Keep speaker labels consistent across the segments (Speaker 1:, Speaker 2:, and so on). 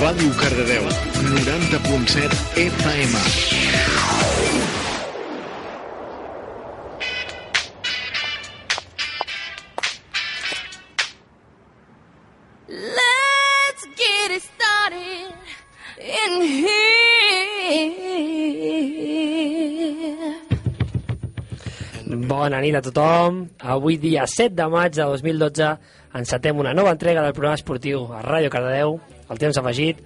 Speaker 1: Cardedeu, 90.7 FM.
Speaker 2: Let's get it started in here.
Speaker 3: Bona nit a tothom. Avui dia 7 de maig de 2012 encetem una nova entrega del programa esportiu a Ràdio Cardedeu, el temps afegit,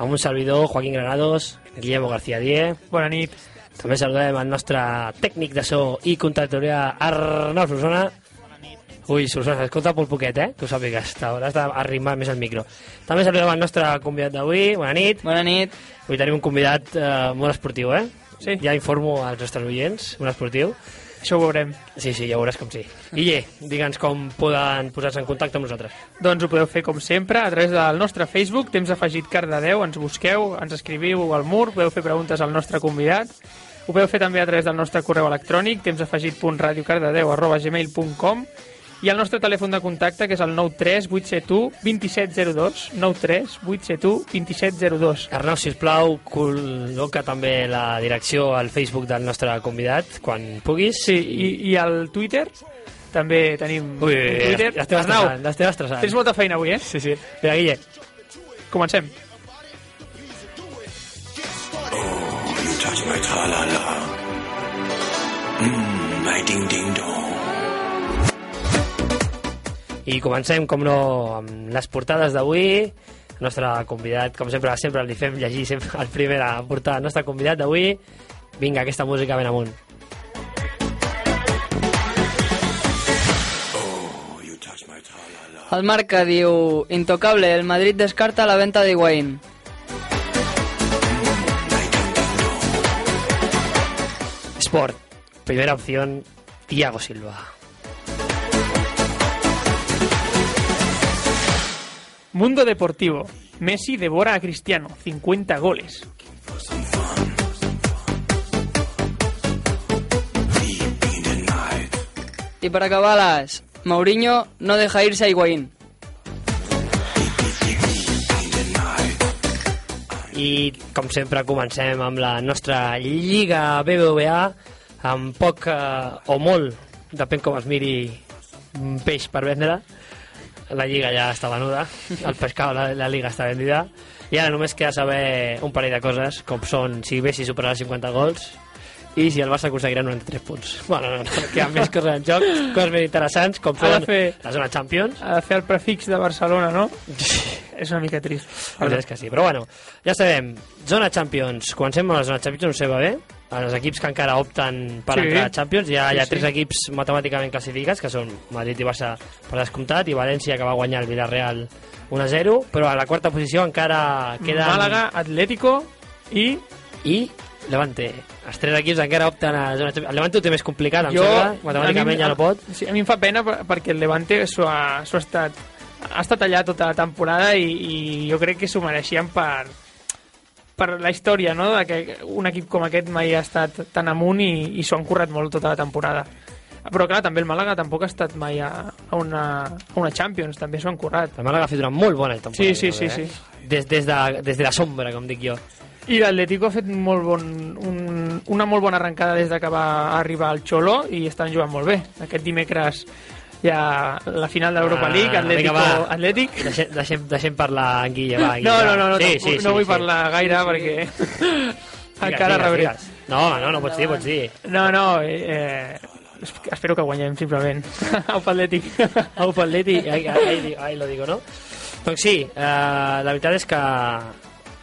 Speaker 3: amb un servidor, Joaquín Granados, Guillermo García Dier.
Speaker 4: Bona nit.
Speaker 3: També saludem el nostre tècnic de so i contractoria, Arnau Solsona. Ui, Solsona, escolta molt poquet, eh? Tu sàpigues, t'hauràs d'arrimar més el micro. També saludem el nostre convidat d'avui. Bona nit.
Speaker 4: Bona nit.
Speaker 3: Avui tenim un convidat eh, molt esportiu, eh?
Speaker 4: Sí.
Speaker 3: Ja informo als nostres oients, un esportiu.
Speaker 4: Això ho veurem.
Speaker 3: Sí, sí, ja veuràs com sí. Guille, digue'ns com poden posar-se en contacte amb nosaltres.
Speaker 4: Doncs ho podeu fer com sempre a través del nostre Facebook, Temps Afegit Cardedeu, ens busqueu, ens escriviu al mur, podeu fer preguntes al nostre convidat. Ho podeu fer també a través del nostre correu electrònic, tempsafegit.radiocardedeu arroba gmail.com i el nostre telèfon de contacte, que és el 93 871 2702, 93 871 2702.
Speaker 3: Arnau, si us plau, col·loca també la direcció al Facebook del nostre convidat, quan puguis.
Speaker 4: Sí, i, i al Twitter també tenim
Speaker 3: Ui,
Speaker 4: un Twitter.
Speaker 3: l'estem estressant,
Speaker 4: Arnau,
Speaker 3: l'estem estressant.
Speaker 4: tens molta feina avui, eh?
Speaker 3: Sí, sí. Vinga, Guille.
Speaker 4: Comencem.
Speaker 5: You touch my tra-la-la. Mmm, my ding-ding-dong.
Speaker 3: I comencem, com no, amb les portades d'avui. El nostre convidat, com sempre, sempre li fem llegir sempre el primer a portar el nostre convidat d'avui. Vinga, aquesta música ben amunt.
Speaker 5: Oh, you touch my tra-la-la.
Speaker 6: El Marca diu Intocable, el Madrid descarta la venta d'Higuaín.
Speaker 3: Sport. Primera opción, Thiago Silva.
Speaker 4: Mundo Deportivo. Messi devora a Cristiano. 50 goles.
Speaker 6: I per acabar les, Mourinho no deja irse a Higuaín.
Speaker 3: I, com sempre, comencem amb la nostra Lliga BBVA, amb poc eh, o molt, depèn com es miri, un peix per vendre. La Lliga ja està venuda, el pescat, la, la Lliga està vendida. I ara només queda saber un parell de coses, com són si Messi superarà els 50 gols i si el Barça aconseguirà 93 punts. Bueno, no, no, queden més coses en joc, coses més interessants, com
Speaker 4: Ha de
Speaker 3: són
Speaker 4: fer-
Speaker 3: la zona Champions.
Speaker 4: Ha de fer el prefix de Barcelona, no? És una mica trist.
Speaker 3: La veritat és que sí, però bueno, ja sabem, zona Champions, comencem amb la zona Champions, no sé va bé, els equips que encara opten per
Speaker 4: Sí.
Speaker 3: sí. entrar a Champions, hi ha, hi ha
Speaker 4: Sí, sí.
Speaker 3: tres equips matemàticament classificats, que són Madrid i Barça per descomptat, i València que va guanyar el Villarreal 1-0, però a la quarta posició encara queden...
Speaker 4: Màlaga, Atlético i...
Speaker 3: I Levante. Els tres equips encara opten a zona Champions. El Levante ho té més complicat, em
Speaker 4: jo-
Speaker 3: sembla,
Speaker 4: a
Speaker 3: matemàticament
Speaker 4: mi-
Speaker 3: ja no pot.
Speaker 4: Sí, a mi em fa pena per- perquè el Levante s'ho ha, s'ho ha estat ha estat allà tota la temporada i, i jo crec que s'ho mereixien per, per la història, no? De que un equip com aquest mai ha estat tan amunt i, i s'ho han currat molt tota la temporada. Però clar, també el Màlaga tampoc ha estat mai a, a, una, a una Champions, també s'ho han currat.
Speaker 3: El Màlaga ha fet una molt bona temporada.
Speaker 4: Sí, sí,
Speaker 3: jo crec, eh?
Speaker 4: sí, sí.
Speaker 3: Des, des, de, des de la sombra, com dic jo.
Speaker 4: I l'Atlético ha fet molt bon, un, una molt bona arrencada des de que va arribar al Xolo i estan jugant molt bé. Aquest dimecres hi ha la final de l'Europa
Speaker 3: Ah,
Speaker 4: League, Atlético,
Speaker 3: vinga, va.
Speaker 4: Atlètic.
Speaker 3: Deixem, deixem, deixem parlar en Guille, va. Guille,
Speaker 4: No, no,
Speaker 3: va.
Speaker 4: no, no,
Speaker 3: sí,
Speaker 4: no,
Speaker 3: sí, sí,
Speaker 4: no vull
Speaker 3: sí.
Speaker 4: parlar gaire perquè
Speaker 3: Digues,
Speaker 4: encara
Speaker 3: digues,
Speaker 4: rebré.
Speaker 3: digues. No, no, no pots dir, pots dir.
Speaker 4: No, no, eh, eh, esp- espero que guanyem simplement. Au Atlètic.
Speaker 3: Au, pel Leti, ai, ai, ai, di- ai, lo digo, no? Doncs sí, eh, la veritat és que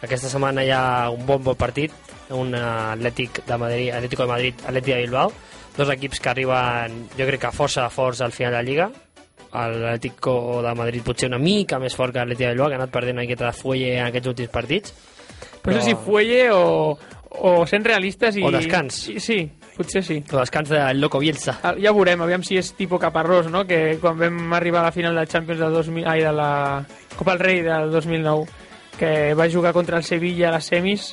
Speaker 3: aquesta setmana hi ha un bon bon partit, un eh, Atlètic de Madrid, Atlético de Madrid, Atlètic de Bilbao, dos equips que arriben, jo crec que força forts al final de la Lliga, l'Atlético de Madrid potser una mica més fort que l'Atlètic de Bilbao, que ha anat perdent una miqueta de fuelle en aquests últims partits,
Speaker 4: No sé si Fuelle o, o sent realistes i...
Speaker 3: O descans.
Speaker 4: I, sí, potser sí.
Speaker 3: el descans del Loco Bielsa.
Speaker 4: Ah, Ja veurem, aviam si és tipo Caparrós, no? Que quan vam arribar a la final de Champions del 2000... Ai, de la Copa del Rei del 2009, que va jugar contra el Sevilla a les semis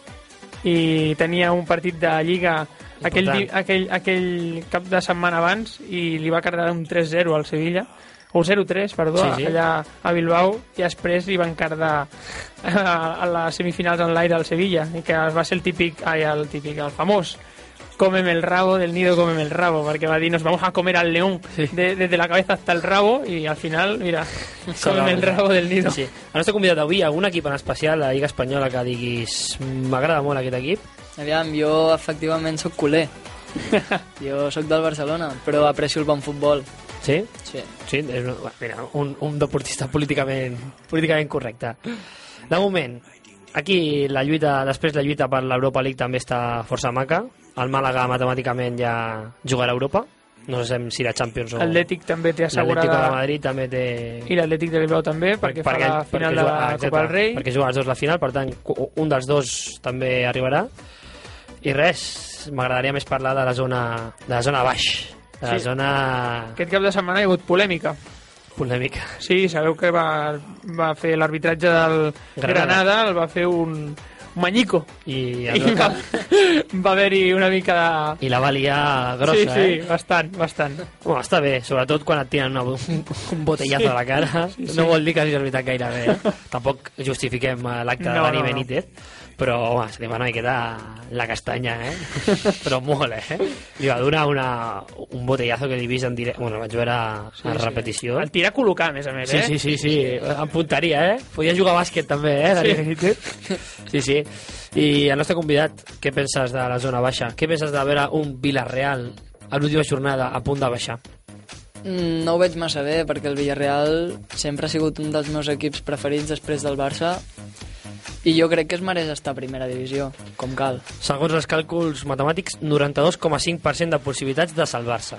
Speaker 4: i tenia un partit de Lliga aquell, di-
Speaker 3: Important.
Speaker 4: aquell, aquell cap de setmana abans i li va carregar un 3-0 al Sevilla o 0-3, perdó,
Speaker 3: Sí, sí.
Speaker 4: allà a Bilbao, i després li van cardar eh, a les semifinals en l'aire al Sevilla, i que va ser el típic, ai, el típic, el famós, cómeme el rabo del nido, cómeme el rabo, perquè va dir, nos vamos a comer al león de, desde la cabeza hasta el rabo, i al final, mira, cómeme el rabo del nido.
Speaker 3: Sí. El nostre convidat d'avui, algun equip en especial a la Lliga Espanyola que diguis m'agrada molt aquest equip?
Speaker 6: Aviam, jo efectivament sóc culer. jo sóc del Barcelona, però aprecio el bon futbol.
Speaker 3: Sí?
Speaker 6: Sí.
Speaker 3: Sí, és una, bueno, mira, un, un deportista políticament, políticament correcte. De moment, aquí la lluita, després la lluita per l'Europa League també està força maca. El Màlaga matemàticament ja jugarà a Europa. No sabem si la Champions o...
Speaker 4: L'Atlètic també té
Speaker 3: L'Atlético de
Speaker 4: assegurada...
Speaker 3: Madrid també té...
Speaker 4: I l'Atlètic de Bilbao també, perquè, fa la final de la
Speaker 3: juga- exacte,
Speaker 4: Copa del Rei.
Speaker 3: Perquè juga els dos la final, per tant, cu- un dels dos també arribarà. I res, m'agradaria més parlar de la zona, de la zona baix, de la
Speaker 4: Sí.
Speaker 3: zona
Speaker 4: Aquest cap de setmana hi ha hagut polèmica.
Speaker 3: polèmica.
Speaker 4: Sí, sabeu que va, va fer l'arbitratge del
Speaker 3: Granada.
Speaker 4: Granada. el va fer un, un manyico.
Speaker 3: I,
Speaker 4: I va, va haver-hi una mica de...
Speaker 3: I la va liar grossa,
Speaker 4: sí, sí,
Speaker 3: eh?
Speaker 4: bastant, bastant.
Speaker 3: Bueno, està bé, sobretot quan et tiren una, un, un botellazo sí. a la cara. Sí, sí. No vol dir que hagis arbitrat gaire bé. eh? Tampoc justifiquem eh, l'acte de
Speaker 4: No,
Speaker 3: Dani
Speaker 4: no, no.
Speaker 3: Benítez, però home, se li va una miqueta la castanya, eh? però molt, eh? Li va donar una, un botellazo que li he vist en directe. Bueno, vaig veure sí, a repetició.
Speaker 4: El tirà a col·locar, a més a més,
Speaker 3: Sí,
Speaker 4: eh?
Speaker 3: sí, sí, sí, em puntaria, eh? Podia jugar a bàsquet també, eh? Dani
Speaker 4: Sí.
Speaker 3: Benítez. Sí, sí. I el nostre convidat, què penses de la zona baixa? Què penses de veure un Villarreal a l'última jornada a punt de baixar?
Speaker 6: Mm, No ho veig massa bé, perquè el Villarreal sempre ha sigut un dels meus equips preferits després del Barça i jo crec que es mereix estar a primera divisió, com cal.
Speaker 3: Segons els càlculs matemàtics, 92,5% de possibilitats de salvar-se.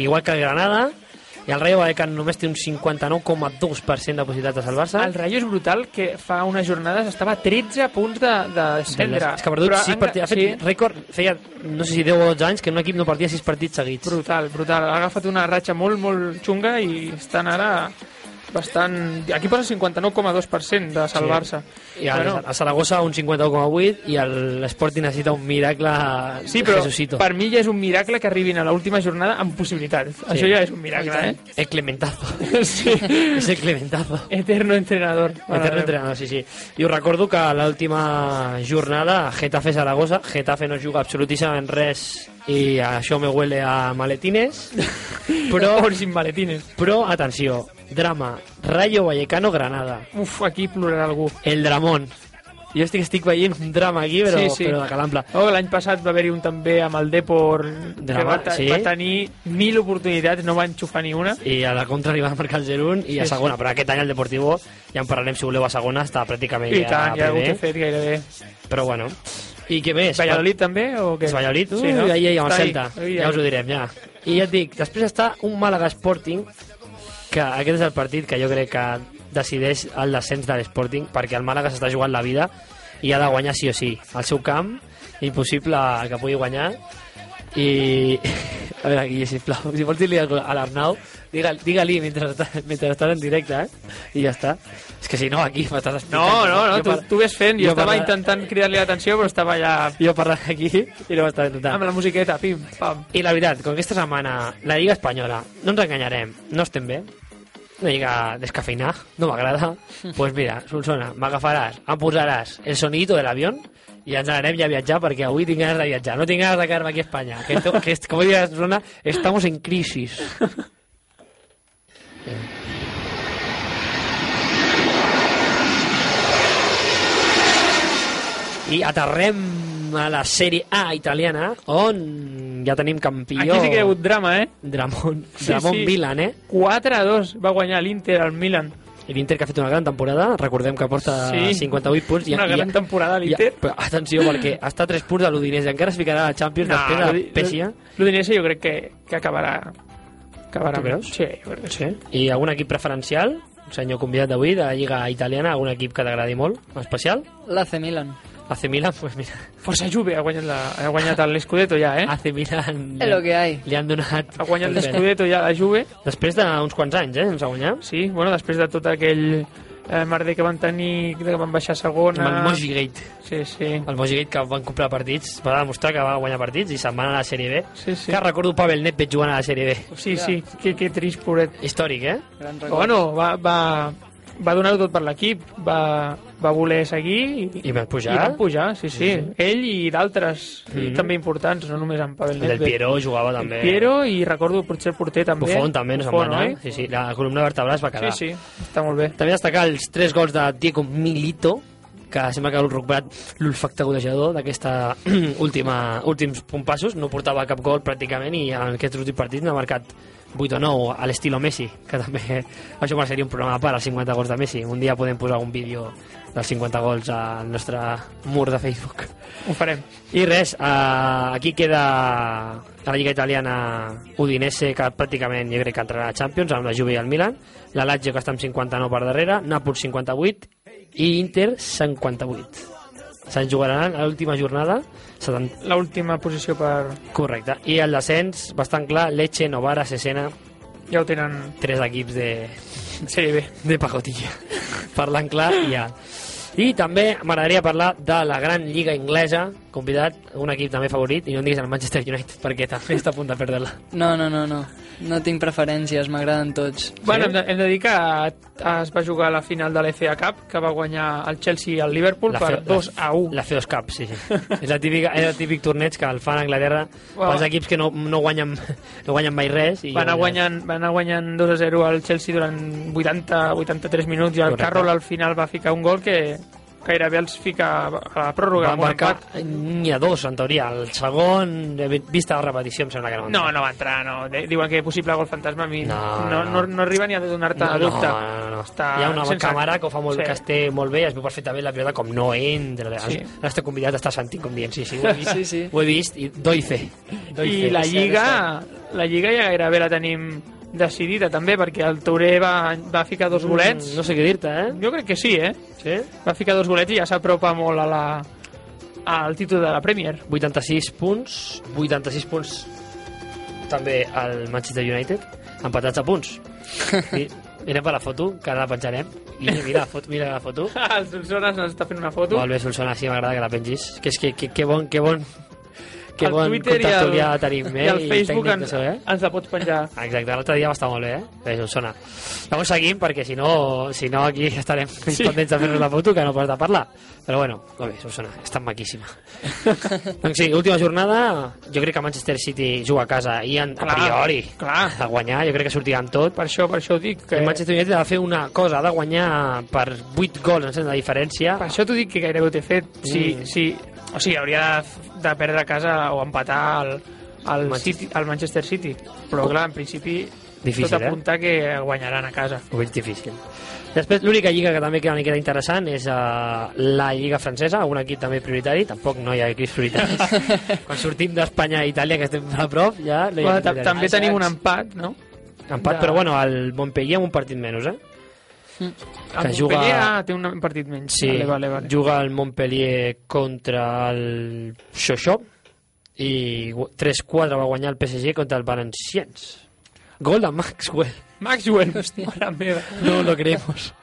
Speaker 3: Igual que el Granada, i el Rayo Vallecano només té un 59,2% de possibilitats de salvar-se.
Speaker 4: El Rayo és brutal, que fa unes jornades estava a 13 punts de, de descendre.
Speaker 3: És que ha perdut
Speaker 4: Però
Speaker 3: 6
Speaker 4: han-
Speaker 3: partits. Ha fet rècord, feia no sé si 10 o 12 anys que un equip no perdia 6 partits seguits.
Speaker 4: Brutal, brutal. Ha agafat una ratxa molt, molt xunga i estan ara bastant... Aquí posa 59,2% de salvar-se.
Speaker 3: I el,
Speaker 4: Bueno,
Speaker 3: bueno. a Saragossa un 51,8 i el- l'Sporting necessita un miracle
Speaker 4: sí, però
Speaker 3: Jesucito.
Speaker 4: per mi ja és un miracle que arribin a l'última jornada amb possibilitats. Sí. Això ja és un miracle, eh?
Speaker 3: El Clementazo.
Speaker 4: Sí.
Speaker 3: és el Clementazo.
Speaker 4: Eterno entrenador. Mare
Speaker 3: Eterno
Speaker 4: meva.
Speaker 3: entrenador, sí, sí. I us recordo que a l'última jornada, Getafe-Saragossa, Getafe no juga absolutíssimament res i això me huele a maletines. Però,
Speaker 4: Pobres sin maletines.
Speaker 3: però atenció, drama, Rayo Vallecano-Granada,
Speaker 4: Uf, aquí plorarà algú.
Speaker 3: el dramón. Jo estic, estic veient un drama aquí, però,
Speaker 4: Sí, sí.
Speaker 3: però de calample.
Speaker 4: Oh, L'any passat va haver-hi un també amb el Depor que
Speaker 3: Drama,
Speaker 4: va, ta-
Speaker 3: sí.
Speaker 4: va tenir mil oportunitats, no va enxufar ni una.
Speaker 3: i a la contra li van marcar el 0-1 i a
Speaker 4: Sí,
Speaker 3: segona, però aquest any el Deportivo ja en parlarem si voleu a segona, està pràcticament
Speaker 4: I
Speaker 3: ja
Speaker 4: tant, ja ho
Speaker 3: primer,
Speaker 4: he fet gairebé.
Speaker 3: però bueno i què més?
Speaker 4: Valladolid també o què?
Speaker 3: És Valladolid,
Speaker 4: Sí, no?
Speaker 3: ui, ahir amb el
Speaker 4: Està
Speaker 3: Celta
Speaker 4: ahí, ahí,
Speaker 3: ja
Speaker 4: ahí.
Speaker 3: us ho direm, ja i ja et dic, després està un Màlaga Sporting que aquest és el partit que jo crec que decideix el descens de l'Sporting perquè el Màlaga s'està jugant la vida i ha de guanyar sí o sí al seu camp impossible que pugui guanyar i a veure Guille, sisplau si vols dir-li alguna cosa a l'Arnau digue- digue-li mentre, està- mentre estàs en directe eh? i ja està és que si no aquí m'estàs explicant
Speaker 4: No, no, no,
Speaker 3: Jo
Speaker 4: tu,
Speaker 3: par-
Speaker 4: tu ves fent, jo,
Speaker 3: jo
Speaker 4: estava
Speaker 3: parla-
Speaker 4: intentant cridar-li l'atenció, però estava allà
Speaker 3: jo parlant aquí i no m'estava intentant
Speaker 4: amb la musiqueta, pim, pam.
Speaker 3: I la veritat, com aquesta setmana la Lliga Espanyola, no ens enganyarem, no estem bé, una lliga descafeinada, no m'agrada, doncs pues mira, Solsona, m'agafaràs, em posaràs el sonidito de l'avió i ens anarem ja a viatjar perquè avui tinc ganes de viatjar, no tinc ganes de quedar-me aquí a Espanya, que, esto, que est- com diria Solsona, estamos en crisis. I aterrem a la sèrie A italiana, on ja tenim campió...
Speaker 4: Aquí sí que hi ha hagut drama, eh?
Speaker 3: Dramon,
Speaker 4: Sí,
Speaker 3: Dramon
Speaker 4: sí.
Speaker 3: Milan, eh?
Speaker 4: 4 a 2 va guanyar l'Inter al Milan.
Speaker 3: I L'Inter que ha fet una gran temporada, recordem que porta
Speaker 4: Sí.
Speaker 3: 58 punts.
Speaker 4: Una gran temporada, l'Inter.
Speaker 3: però atenció, perquè està a 3 punts de l'Udinese, encara es ficarà a la Champions no, després de eh? Pescia.
Speaker 4: L'Udinese jo crec que, que acabarà... acabarà
Speaker 3: Tu creus?
Speaker 4: Sí, jo crec que sí.
Speaker 3: I algun equip preferencial, un senyor convidat d'avui, de la Lliga Italiana, algun equip que t'agradi molt, en especial?
Speaker 6: L'AC Milan.
Speaker 3: AC Milan, pues mira,
Speaker 4: Força Juve ha guanyat, la, ha guanyat l'Escudeto ja, eh?
Speaker 3: AC Milan... eh,
Speaker 6: És lo que hay.
Speaker 3: Li han donat...
Speaker 4: Ha guanyat
Speaker 3: el verd.
Speaker 4: l'Escudeto ja la Juve.
Speaker 3: Després d'uns quants anys, eh, ens ha guanyat.
Speaker 4: Sí, bueno, després de tot aquell eh, merder que van tenir, que van baixar a segona...
Speaker 3: Amb el Mojigate.
Speaker 4: Sí, sí.
Speaker 3: El Mojigate que van comprar partits, va demostrar que va guanyar partits i se'n van a la sèrie B.
Speaker 4: Sí, sí.
Speaker 3: Que recordo Pavel Nedved jugant a la sèrie B.
Speaker 4: Sí, sí, que, que trist, pobret.
Speaker 3: Històric, eh?
Speaker 6: Gran
Speaker 4: Però
Speaker 6: record.
Speaker 4: Bueno, va, va, va donar-ho tot per l'equip, va, va voler seguir i,
Speaker 3: I van pujar.
Speaker 4: i van pujar, sí, sí. Ell i d'altres, mm -hmm. també importants, no només en Pavel
Speaker 3: El del
Speaker 4: Nedved.
Speaker 3: Piero jugava també.
Speaker 4: El Piero i recordo potser el porter també.
Speaker 3: Buffon també, no se'n va
Speaker 4: Buffon,
Speaker 3: anar.
Speaker 4: oi?
Speaker 3: Sí, sí, la columna vertebral es va
Speaker 4: Sí,
Speaker 3: quedar.
Speaker 4: sí, està molt bé.
Speaker 3: També destacar els tres gols de Diego Milito, que sembla que ha recuperat l'olfacte golejador d'aquesta última, últims pompassos. No portava cap gol pràcticament i en aquests últims partits n'ha marcat 8 o 9 a l'estilo Messi, que també això mereixeria un programa per als 50 gols de Messi. Un dia podem posar un vídeo dels 50 gols al nostre mur de Facebook.
Speaker 4: Ho farem.
Speaker 3: I res, eh, aquí queda a la Lliga Italiana Udinese, que pràcticament jo crec que entrarà a Champions, amb la Juve i el Milan, la Lazio, que està amb 59 per darrere, Nàpols 58 i Inter 58. Se'n jugaran a l'última jornada, 70...
Speaker 4: L'última posició per...
Speaker 3: correcte. I el descens, bastant clar, Lecce, Novara, Cesena,
Speaker 4: Ja ho tenen
Speaker 3: tres equips de,
Speaker 4: sèrie B.
Speaker 3: de pacotilla. Parlant clar, ja. I també m'agradaria parlar de la gran lliga anglesa, convidat, un equip també favorit, i no em diguis el Manchester United, perquè també està a punt de perdre-la.
Speaker 6: No, no, no, no. No tinc preferències, m'agraden tots.
Speaker 4: Bueno, hem de, hem de dir que eh, es va jugar la final de l'FA Cup, que va guanyar el Chelsea i el Liverpool
Speaker 3: La
Speaker 4: per
Speaker 3: fe-
Speaker 4: 2 a 1.
Speaker 3: La Feos Cup, sí. sí. és, la típica, és el típic torneig que el fan a Anglaterra
Speaker 4: Bueno.
Speaker 3: pels equips que no, no, guanyen, no guanyen mai res. I
Speaker 4: va anar, guanyant, va anar guanyant 2 a 0 al Chelsea durant 80-83 minuts i el
Speaker 3: Correcte.
Speaker 4: Carroll al final va ficar un gol que gairebé els fica a la
Speaker 3: Va
Speaker 4: pròrroga amb un
Speaker 3: marcar
Speaker 4: empat.
Speaker 3: n'hi ha dos, en teoria. El segon, he vist la repetició, em sembla que no. va
Speaker 4: No,
Speaker 3: entrar.
Speaker 4: no va entrar, no. De- Diuen que possible gol fantasma a mi
Speaker 3: No,
Speaker 4: no,
Speaker 3: no.
Speaker 4: no, no arriba ni a donar-te
Speaker 3: no,
Speaker 4: dubte.
Speaker 3: No, no, no.
Speaker 4: Està
Speaker 3: Hi ha una
Speaker 4: sense-
Speaker 3: càmera que ho fa molt,
Speaker 4: Sí.
Speaker 3: sí. que es té molt bé, es veu perfectament la pilota com no entra.
Speaker 4: Sí.
Speaker 3: Sí. El nostre convidat està sentint com dient, sí, sí, ho he vist,
Speaker 6: Sí, sí.
Speaker 3: Ho he vist i doy fe. Doy
Speaker 4: I
Speaker 3: fe.
Speaker 4: la
Speaker 6: és cert,
Speaker 4: Lliga, la Lliga ja gairebé la tenim decidida també, perquè el Touré va, va ficar dos golets.
Speaker 3: Mm, no sé què dir-te, eh?
Speaker 4: Jo crec que sí, eh?
Speaker 3: Sí?
Speaker 4: Va ficar dos golets i ja s'apropa molt a la, al títol de la Premier.
Speaker 3: 86 punts, 86 punts també al Manchester United, empatats a punts. I anem per la foto, que ara la penjarem. I mira la foto, mira la foto.
Speaker 4: el Solsona ens està fent una foto.
Speaker 3: Molt bé, Solsona, sí, m'agrada que la pengis. Que és que, que, que bon, que bon, que
Speaker 4: Al
Speaker 3: bon
Speaker 4: Twitter i al-
Speaker 3: contactorià tenim, eh?
Speaker 4: I al
Speaker 3: tècnic
Speaker 4: Facebook
Speaker 3: de
Speaker 4: ens,
Speaker 3: so, eh?
Speaker 4: ens la pots penjar.
Speaker 3: Exacte, l'altre dia va estar molt bé, eh? Bé, Solsona. Llavors seguim, perquè si no, si no aquí estarem més
Speaker 4: Sí.
Speaker 3: pendents de fer-nos la foto que no pas de parlar. Però bueno, molt bé, Solsona, està maquíssima. doncs sí, última jornada, jo crec que Manchester City juga a casa i en,
Speaker 4: Clar,
Speaker 3: a priori
Speaker 4: clar.
Speaker 3: a guanyar, jo crec que sortirà amb tot.
Speaker 4: Per això, per això ho dic.
Speaker 3: Que...
Speaker 4: Que,
Speaker 3: El Manchester United ha de fer una cosa, ha de guanyar per 8 gols, no sé, de diferència.
Speaker 4: Per això t'ho dic que gairebé ho té fet. Si,
Speaker 3: Mm.
Speaker 4: si, o sigui, hauria de, de perdre a casa o empatar al, al,
Speaker 3: Manchester.
Speaker 4: City, al Manchester City. Però clar, en principi
Speaker 3: Difícil, eh?
Speaker 4: tot apunta que guanyaran a casa.
Speaker 3: Ho veig difícil. Després, l'única lliga que també queda una miqueta interessant és uh, la lliga francesa, un equip també prioritari, tampoc no hi ha equips prioritaris. Quan sortim d'Espanya i Itàlia, que estem a prop, ja no hi ha
Speaker 4: Bueno, ta-
Speaker 3: equips
Speaker 4: també
Speaker 3: prioritaris.
Speaker 4: tenim un empat, no?
Speaker 3: Empat, però bueno, el Montpellier amb un partit menys, eh?
Speaker 4: El
Speaker 3: Que juga-
Speaker 4: Montpellier, ah, té un partit menys.
Speaker 3: Sí,
Speaker 4: Vale, vale, vale.
Speaker 3: juga el Montpellier contra el Xoxó i gu- 3-4 va guanyar el PSG contra el Valencians. Gol de Maxwell.
Speaker 4: Maxwell, mare meva.
Speaker 3: No lo creemos.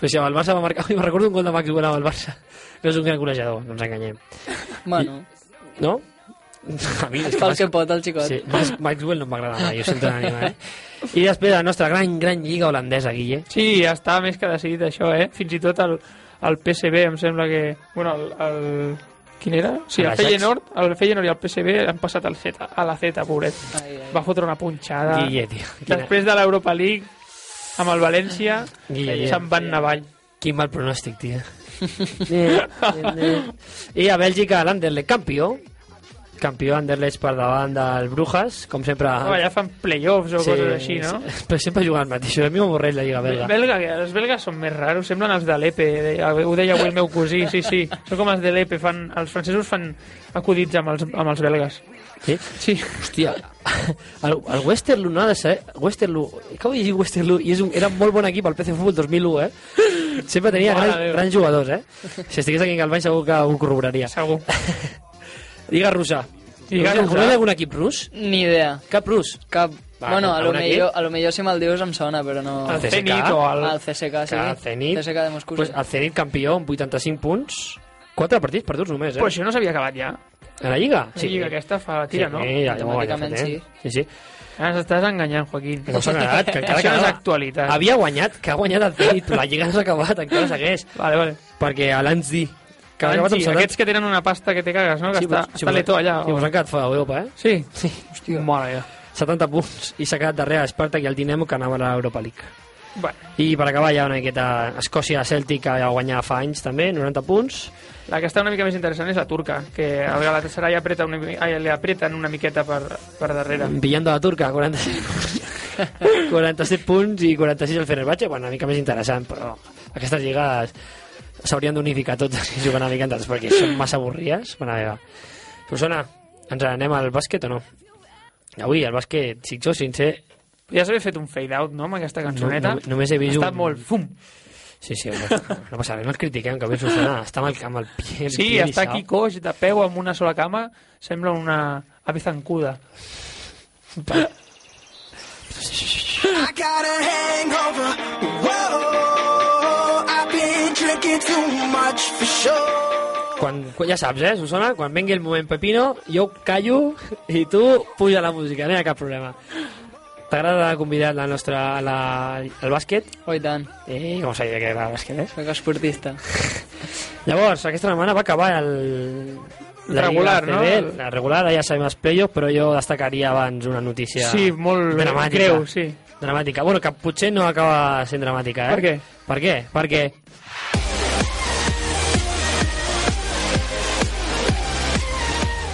Speaker 3: Però si amb el Barça va marcar... Ui, me recordo un gol de Maxwell amb el Barça. No és un gran golejador, no ens enganyem.
Speaker 6: Bueno,
Speaker 3: No? A mi és
Speaker 6: fa el
Speaker 3: Max-
Speaker 6: que pot el xicot.
Speaker 3: Sí, Max- Maxwell no m'agrada mai, ho sento en ànima, eh? I després la nostra gran, gran lliga holandesa, Guille.
Speaker 4: Sí, ja està més que decidit això, eh? Fins i tot el, el PSB em sembla que... Bueno, el... el... Quin era? Sí, el
Speaker 3: L'Ajax.
Speaker 4: Feyenoord, el Feyenoord i el PSB han passat al Z, a la Z, pobret.
Speaker 6: Ai, ai.
Speaker 4: Va fotre una punxada.
Speaker 3: Guille, tio. Quina,
Speaker 4: Després de l'Europa League, amb el València,
Speaker 3: Guille, Guille.
Speaker 4: se'n van navall.
Speaker 3: quin mal pronòstic, tio. Eh, eh, eh. I a Bèlgica, l'Anderlecht campió. Campió Anderlecht per davant del Brujas, com sempre...
Speaker 4: Ah. Allà fan playoffs o sí, coses així, no?
Speaker 3: sí, Però sempre jugant el mateix. A mi m'avorreix la Lliga Belga.
Speaker 4: Belga, que els belgues són més raros, semblen els de l'EPE, de- ho deia avui el meu cosí, sí, sí, són com els de l'EPE, fan, els francesos fan acudits amb els, amb els belgues.
Speaker 3: Sí?
Speaker 4: Sí.
Speaker 3: Eh? Hòstia, el, el Westerlo no ha de ser... Westerlo, acabo de llegir Westerlo i és un, era un molt bon equip al PC Futbol 2001, eh? Sempre tenia
Speaker 4: Mare
Speaker 3: grans,
Speaker 4: meva.
Speaker 3: grans jugadors, eh? Si estigués aquí en Galvany segur que ho corroboraria.
Speaker 4: Segur.
Speaker 3: Lliga russa.
Speaker 4: Lliga russa.
Speaker 3: Coneix algun equip rus?
Speaker 6: Ni idea.
Speaker 3: Cap rus?
Speaker 6: Cap
Speaker 3: Va,
Speaker 6: bueno, a lo,
Speaker 3: un equip.
Speaker 6: millor, a lo millor si me'l dius em sona, però no...
Speaker 4: El
Speaker 3: CSKA?
Speaker 4: Zenit o el...
Speaker 6: Al CSK, sí.
Speaker 3: Clar, Zenit,
Speaker 6: CSK de Moscú.
Speaker 3: pues,
Speaker 6: sí.
Speaker 3: el Zenit campió amb 85 punts, 4 partits perduts només, eh?
Speaker 4: Però això no s'havia acabat ja.
Speaker 3: A la Lliga?
Speaker 4: La Lliga aquesta fa la tira,
Speaker 3: sí,
Speaker 4: no?
Speaker 3: Sí, ja, ja, ja, ja,
Speaker 6: Automàticament,
Speaker 3: ja, sí. eh? sí, sí.
Speaker 4: Ara ens estàs enganyant, Joaquín.
Speaker 3: No s'ha acabat, que encara
Speaker 4: Això no és
Speaker 3: quedava-
Speaker 4: actualitat.
Speaker 3: Havia guanyat, que ha guanyat el Zenit, la Lliga no s'ha acabat, encara segueix.
Speaker 4: Vale, vale.
Speaker 3: Perquè a l'Anzi, que ha acabat
Speaker 4: Anzi,
Speaker 3: amb Solant-
Speaker 4: aquests que tenen una pasta que te cagues, no? Que està,
Speaker 3: vos-
Speaker 4: està
Speaker 3: vos-
Speaker 4: l'Eto allà.
Speaker 3: Si vos han quedat fora d'Europa, eh?
Speaker 4: Sí.
Speaker 3: Sí,
Speaker 4: Hòstia. Mare meva.
Speaker 3: 70 punts i s'ha quedat darrere a Spartak i el Dinamo que anava a l'Europa League.
Speaker 4: Bueno,
Speaker 3: I per acabar ja una miqueta Escòcia-Celtic que va guanyar fa anys també, 90 punts.
Speaker 4: la que està una mica més interessant és la turca, que el Galatasaray apreta una, mi- ai, li apreten una miqueta per, per darrere.
Speaker 3: Villando la Turca, 47 punts. 47 punts i 46 el Fenerbahce, bueno, una mica més interessant, però aquestes lligues s'haurien d'unificar totes i jugar una mica entre totes, perquè són massa avorries. Bona meva. Susana, ens n'anem al bàsquet o no? Avui, el bàsquet, si jo sincer...
Speaker 4: Ja s'havia fet un fade-out, no?, amb aquesta cançoneta.
Speaker 3: No, no, només he vist
Speaker 4: ha estat
Speaker 3: un-
Speaker 4: molt... Fum!
Speaker 3: Sí, sí, no, no passa res, no ens critiquem, que avui Susana està amb el, amb el pie...
Speaker 4: Sí,
Speaker 3: pie
Speaker 4: està
Speaker 3: lissat.
Speaker 4: aquí coix, de peu, amb una sola cama. Sembla una ave zancuda.
Speaker 7: I got a hangover. Whoa, I've been drinking too much for sure.
Speaker 3: Quan, quan, ja saps, eh, Susana, quan vengui el moment pepino, jo callo i tu puja la música, no hi ha cap problema. T'agrada convidar la nostra, la, el bàsquet?
Speaker 6: Oh, i tant.
Speaker 3: Eh, com sabia que era el bàsquet, eh?
Speaker 6: Soc esportista.
Speaker 3: Llavors, aquesta setmana va acabar el...
Speaker 4: Regular,
Speaker 3: Lliga ACB,
Speaker 4: no?
Speaker 3: La regular, ara ja sabem els playoffs, però jo destacaria abans una notícia
Speaker 4: Sí, molt
Speaker 3: dramàtica.
Speaker 4: greu, sí.
Speaker 3: Dramàtica. Bueno, que potser no acaba sent dramàtica, eh?
Speaker 4: Per què?
Speaker 3: Per què? Perquè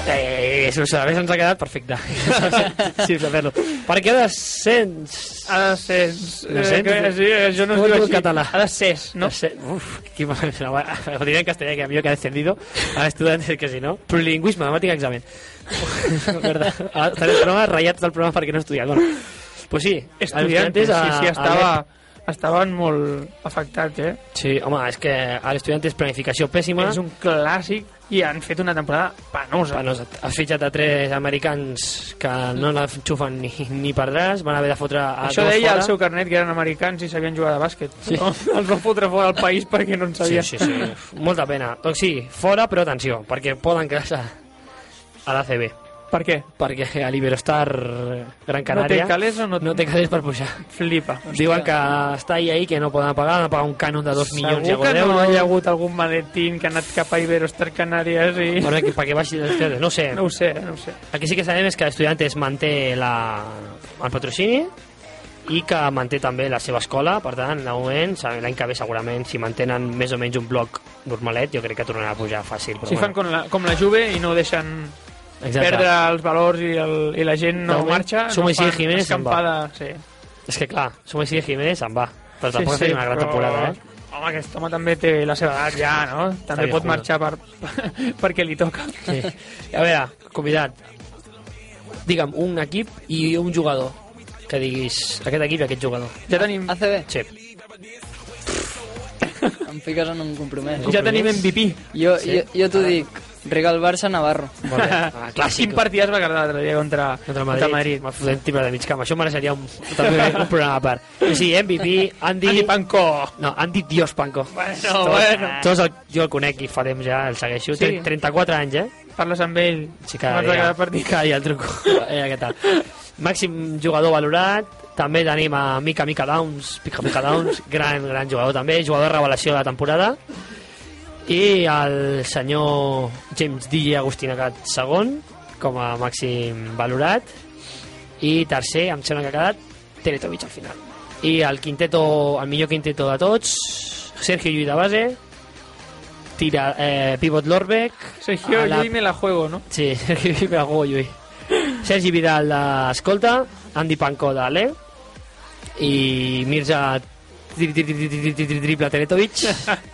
Speaker 3: Eh, si ho sabés, ens ha quedat perfecte. sí, saber-lo. Perquè descens...
Speaker 4: Ha de ser... No
Speaker 3: sé, no sé.
Speaker 4: sí, això no es
Speaker 3: Fot el
Speaker 4: diu així.
Speaker 3: català.
Speaker 4: Ha de ser, no?
Speaker 3: No sé, uf, qué mal me sonaba. Lo diría en castellano, que a mí que ha descendido a estudiantes que si no. Plurilingüismo, matemática, examen. Verdad. Ahora Estaré en el programa rayados del programa para que no estudian. Bueno, pues sí, a los
Speaker 4: Estudiantes,
Speaker 3: a-
Speaker 4: sí, sí,
Speaker 3: a-
Speaker 4: estava, estaven molt afectats, eh?
Speaker 3: Sí, home, és que als estudiantes planificació pèssima.
Speaker 4: És un clàssic i han fet una temporada penosa.
Speaker 3: Bueno, has fitxat a tres americans que no l'enxufen ni, ni perdràs, van haver de fotre a
Speaker 4: Això
Speaker 3: dos
Speaker 4: deia
Speaker 3: fora.
Speaker 4: el seu carnet que eren americans i sabien jugar de bàsquet.
Speaker 3: Sí.
Speaker 4: No? Els van fotre fora del país perquè no en
Speaker 3: Sí,
Speaker 4: sabien.
Speaker 3: sí, sí. Uf, Molta pena. Doncs sí, fora, però atenció, perquè poden quedar-se a l'ACB.
Speaker 4: Per què?
Speaker 3: perquè a l'Iberostar Gran Canària
Speaker 4: té calés o no-
Speaker 3: no té calés per pujar.
Speaker 4: Flipa.
Speaker 3: Diuen que està ahí, ahí que no poden pagar, han de pagar un cànon de 2 milions
Speaker 4: Segur que
Speaker 3: d'euros.
Speaker 4: no hi ha hagut algun maletín que ha anat cap a Iberostar Canàries i...
Speaker 3: Bueno, que, perquè baixi les teles, no ho sé.
Speaker 4: No ho sé, eh, no ho sé.
Speaker 3: El que sí que sabem és que Estudiantes manté la, el patrocini i que manté també la seva escola, per tant, de moment, se- l'any que ve segurament, si mantenen més o menys un bloc normalet, jo crec que tornarà a pujar fàcil. Però
Speaker 4: Si fan com la, com la Juve i no deixen
Speaker 3: Exacte.
Speaker 4: perdre els valors i, el, i la gent no
Speaker 3: També,
Speaker 4: marxa, no
Speaker 3: Suma i
Speaker 4: fan
Speaker 3: Jiménez se'n va.
Speaker 4: escampada... Sí.
Speaker 3: És que clar, Sumes i Jiménez se'n va, però tampoc sí, ha fet una gran
Speaker 4: però-
Speaker 3: temporada, eh?
Speaker 4: Home, aquest home també té la seva edat ja, no? També pot
Speaker 3: viejudo.
Speaker 4: marxar per, perquè li toca.
Speaker 3: Sí. A veure, convidat, digue'm un equip i un jugador que diguis aquest equip i aquest jugador.
Speaker 4: Ja tenim,
Speaker 6: ACB,
Speaker 3: Sí.
Speaker 6: em fiques en un compromès.
Speaker 4: ja tenim MVP.
Speaker 6: Jo, jo, jo t'ho dic, Regal Barça Navarro.
Speaker 3: Molt bé. Ah, clàssic.
Speaker 4: Quin partit es va quedar l'altre dia contra,
Speaker 3: Contra Madrid. M'ha fotut tipus de mig camp. Això mereixeria un, també un programa a part. Sí, MVP, Andy...
Speaker 4: Andy Panko.
Speaker 3: No, Andy Dios Panko.
Speaker 4: Bueno,
Speaker 3: Tots-
Speaker 4: bueno.
Speaker 3: Tots el, jo el conec i fa temps ja el segueixo.
Speaker 4: Sí.
Speaker 3: Sí. 34 anys, eh?
Speaker 4: Parles amb ell.
Speaker 3: Sí, cada
Speaker 4: Abans de
Speaker 3: dia.
Speaker 4: cada partit.
Speaker 3: Cada dia el truco. Eh, què tal? Màxim jugador valorat. També tenim a Mica Mica Downs, Mica Mica Downs, gran, gran jugador també, jugador revelació de la temporada. I el senyor James D. Agustinacat segon, com a màxim valorat. I tercer, em sembla que ha quedat Teletovic al final. I el quinteto, el millor quinteto de tots, Sergio Llull de base, tira, eh, pivot Lorbeck,
Speaker 4: Sergio,
Speaker 3: a la
Speaker 4: jo i me la juego, no?
Speaker 3: Sí, Sergi Vidal, Lluís. eh. Sergi Vidal d'Escolta, Andy Panco de l'E i Mirza tri- tri- tri- tri- tri- tri- triple Teletovic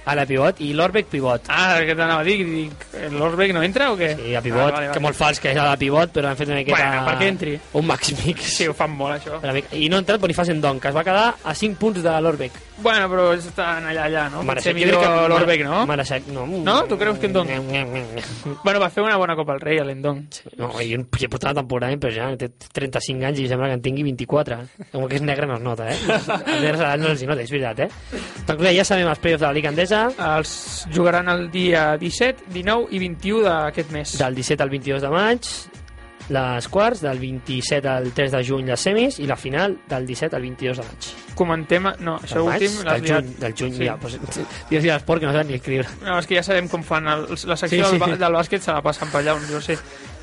Speaker 3: a la pivot i l'Orbeck pivot.
Speaker 4: Ah, què t'anava a dir? Dic, L'Orbeck no entra o què?
Speaker 3: Sí, a pivot,
Speaker 4: vale, vale.
Speaker 3: que molt fals que és a la pivot, però han fet una miqueta...
Speaker 4: Bueno, perquè entri.
Speaker 3: Un max mix.
Speaker 4: Sí, ho fan molt, això.
Speaker 3: Una mica. I no ha entrat Boniface en Don, que es va quedar a 5 punts de l'Orbeck.
Speaker 4: Bueno, però estan allà, allà, no? Potser
Speaker 3: Marasek, jo crec que-
Speaker 4: millor l'Orbeck, no?
Speaker 3: Marasek, no.
Speaker 4: No? Tu creus que en Don?
Speaker 3: No,
Speaker 4: Bueno, va fer una bona Copa al Rei, a l'Endon.
Speaker 3: i un ja portava temporada, però ja té 35 anys i sembla que en tingui 24. Com que és negre no es nota, eh? Els negres a l'edat no els hi nota, és veritat, eh? Doncs clar, ja sabem els playoffs de la Liga Endesa,
Speaker 4: Els jugaran el dia 17, 19 i 21 d'aquest mes.
Speaker 3: del 17 al 22 de maig, les quarts, del 27 al 3 de juny les semis i la final del 17 al 22 de maig.
Speaker 4: Comentem... No, això
Speaker 3: Del maig?
Speaker 4: últim l'has
Speaker 3: Del
Speaker 4: liat.
Speaker 3: juny, del juny,
Speaker 4: Sí.
Speaker 3: ja. Pues, dies i l'esport que no saben ni escriure.
Speaker 4: No, és que ja sabem com fan el, la secció
Speaker 3: Sí,
Speaker 4: sí,
Speaker 3: sí.
Speaker 4: sí. Del, del bàsquet, se la passen per allà, on jo sé.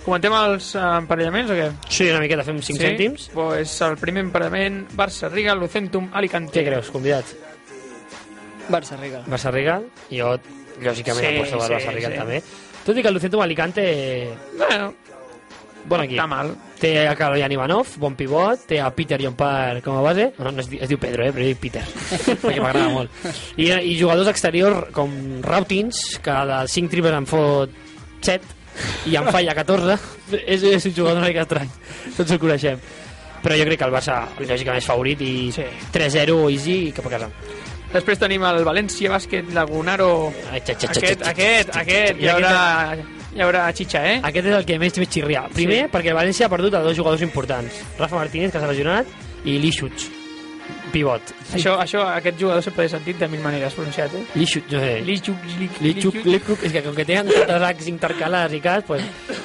Speaker 4: Comentem els eh, emparellaments o què?
Speaker 3: Sí, una miqueta, fem 5 sí? cèntims.
Speaker 4: Pues el primer emparellament, Barça, Riga, Lucentum, Alicante.
Speaker 3: Què creus, convidat?
Speaker 6: Barça Riga.
Speaker 3: Barça Regal, jo lògicament
Speaker 4: Sí,
Speaker 3: sí, aposto per
Speaker 4: sí,
Speaker 3: Barça Regal
Speaker 4: sí.
Speaker 3: també. Tot i que el Lucentum Alicante,
Speaker 4: Bueno,
Speaker 3: bon equip.
Speaker 4: està mal.
Speaker 3: Té a Karolian Ivanov, bon pivot, té a Peter Jonpar com a base, no, no es, di- es diu Pedro, eh, però jo dic Peter, perquè m'agrada molt. I, eh, I jugadors exteriors com Rautins, que de 5 triples en fot 7 i en falla 14, és, és un jugador una mica estrany, tots el coneixem. Però jo crec que el Barça, lògicament, és favorit i
Speaker 4: Sí.
Speaker 3: 3-0 easy i cap a casa.
Speaker 4: Després tenim el València Bàsquet Lagunaro.
Speaker 3: Ai, xa, xa, xa,
Speaker 4: Aquest,
Speaker 3: xa,
Speaker 4: aquest,
Speaker 3: xa,
Speaker 4: aquest.
Speaker 3: xa.
Speaker 4: Hi haurà, hi haurà xitxa, eh?
Speaker 3: Aquest és el que més m'he xirriat. Primer,
Speaker 4: Sí.
Speaker 3: sí. perquè el València ha perdut a dos jugadors importants. Rafa Martínez, que s'ha lesionat, i Lixuts, pivot.
Speaker 4: Això, això, aquest jugador sempre l'he sentit de mil maneres pronunciat, eh?
Speaker 3: Lixuts, no sé.
Speaker 4: Lichuk, Lichuk,
Speaker 3: Lixuc,
Speaker 4: Lichuk.
Speaker 3: Lixuc, és que com que tenen tantes Hs intercalades i cas, pues,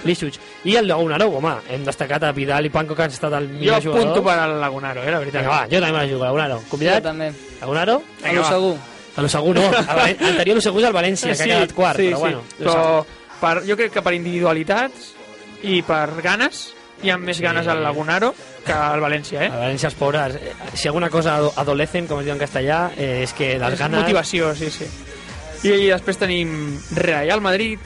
Speaker 3: Lixuts. I el Lagunaró, home, hem destacat a Vidal i Panco, que han estat el
Speaker 4: Jo
Speaker 3: millor jugador.
Speaker 4: apunto per al Lagunaro, eh, la veritat.
Speaker 3: Vinga, va, jo també me la jugo, Lagunaró.
Speaker 6: Jo
Speaker 3: Convidat?
Speaker 6: també.
Speaker 3: Lagunaró?
Speaker 4: Vinga,
Speaker 6: Vinga,
Speaker 4: va.
Speaker 6: segur.
Speaker 3: A lo segur, no. A Valen- Anterior a lo segur és el València, que ha quedat quart, però bueno.
Speaker 4: Sí. Però per, jo crec que per individualitats i per ganes, hi ha més
Speaker 3: Sí.
Speaker 4: ganes al Lagunaro que al València, eh?
Speaker 3: A València els pobres, eh, si alguna cosa ado- adolecen, com es diu en castellà, eh, és que les
Speaker 4: És
Speaker 3: ganes...
Speaker 4: Motivació, sí, sí. I, I després tenim Real Madrid,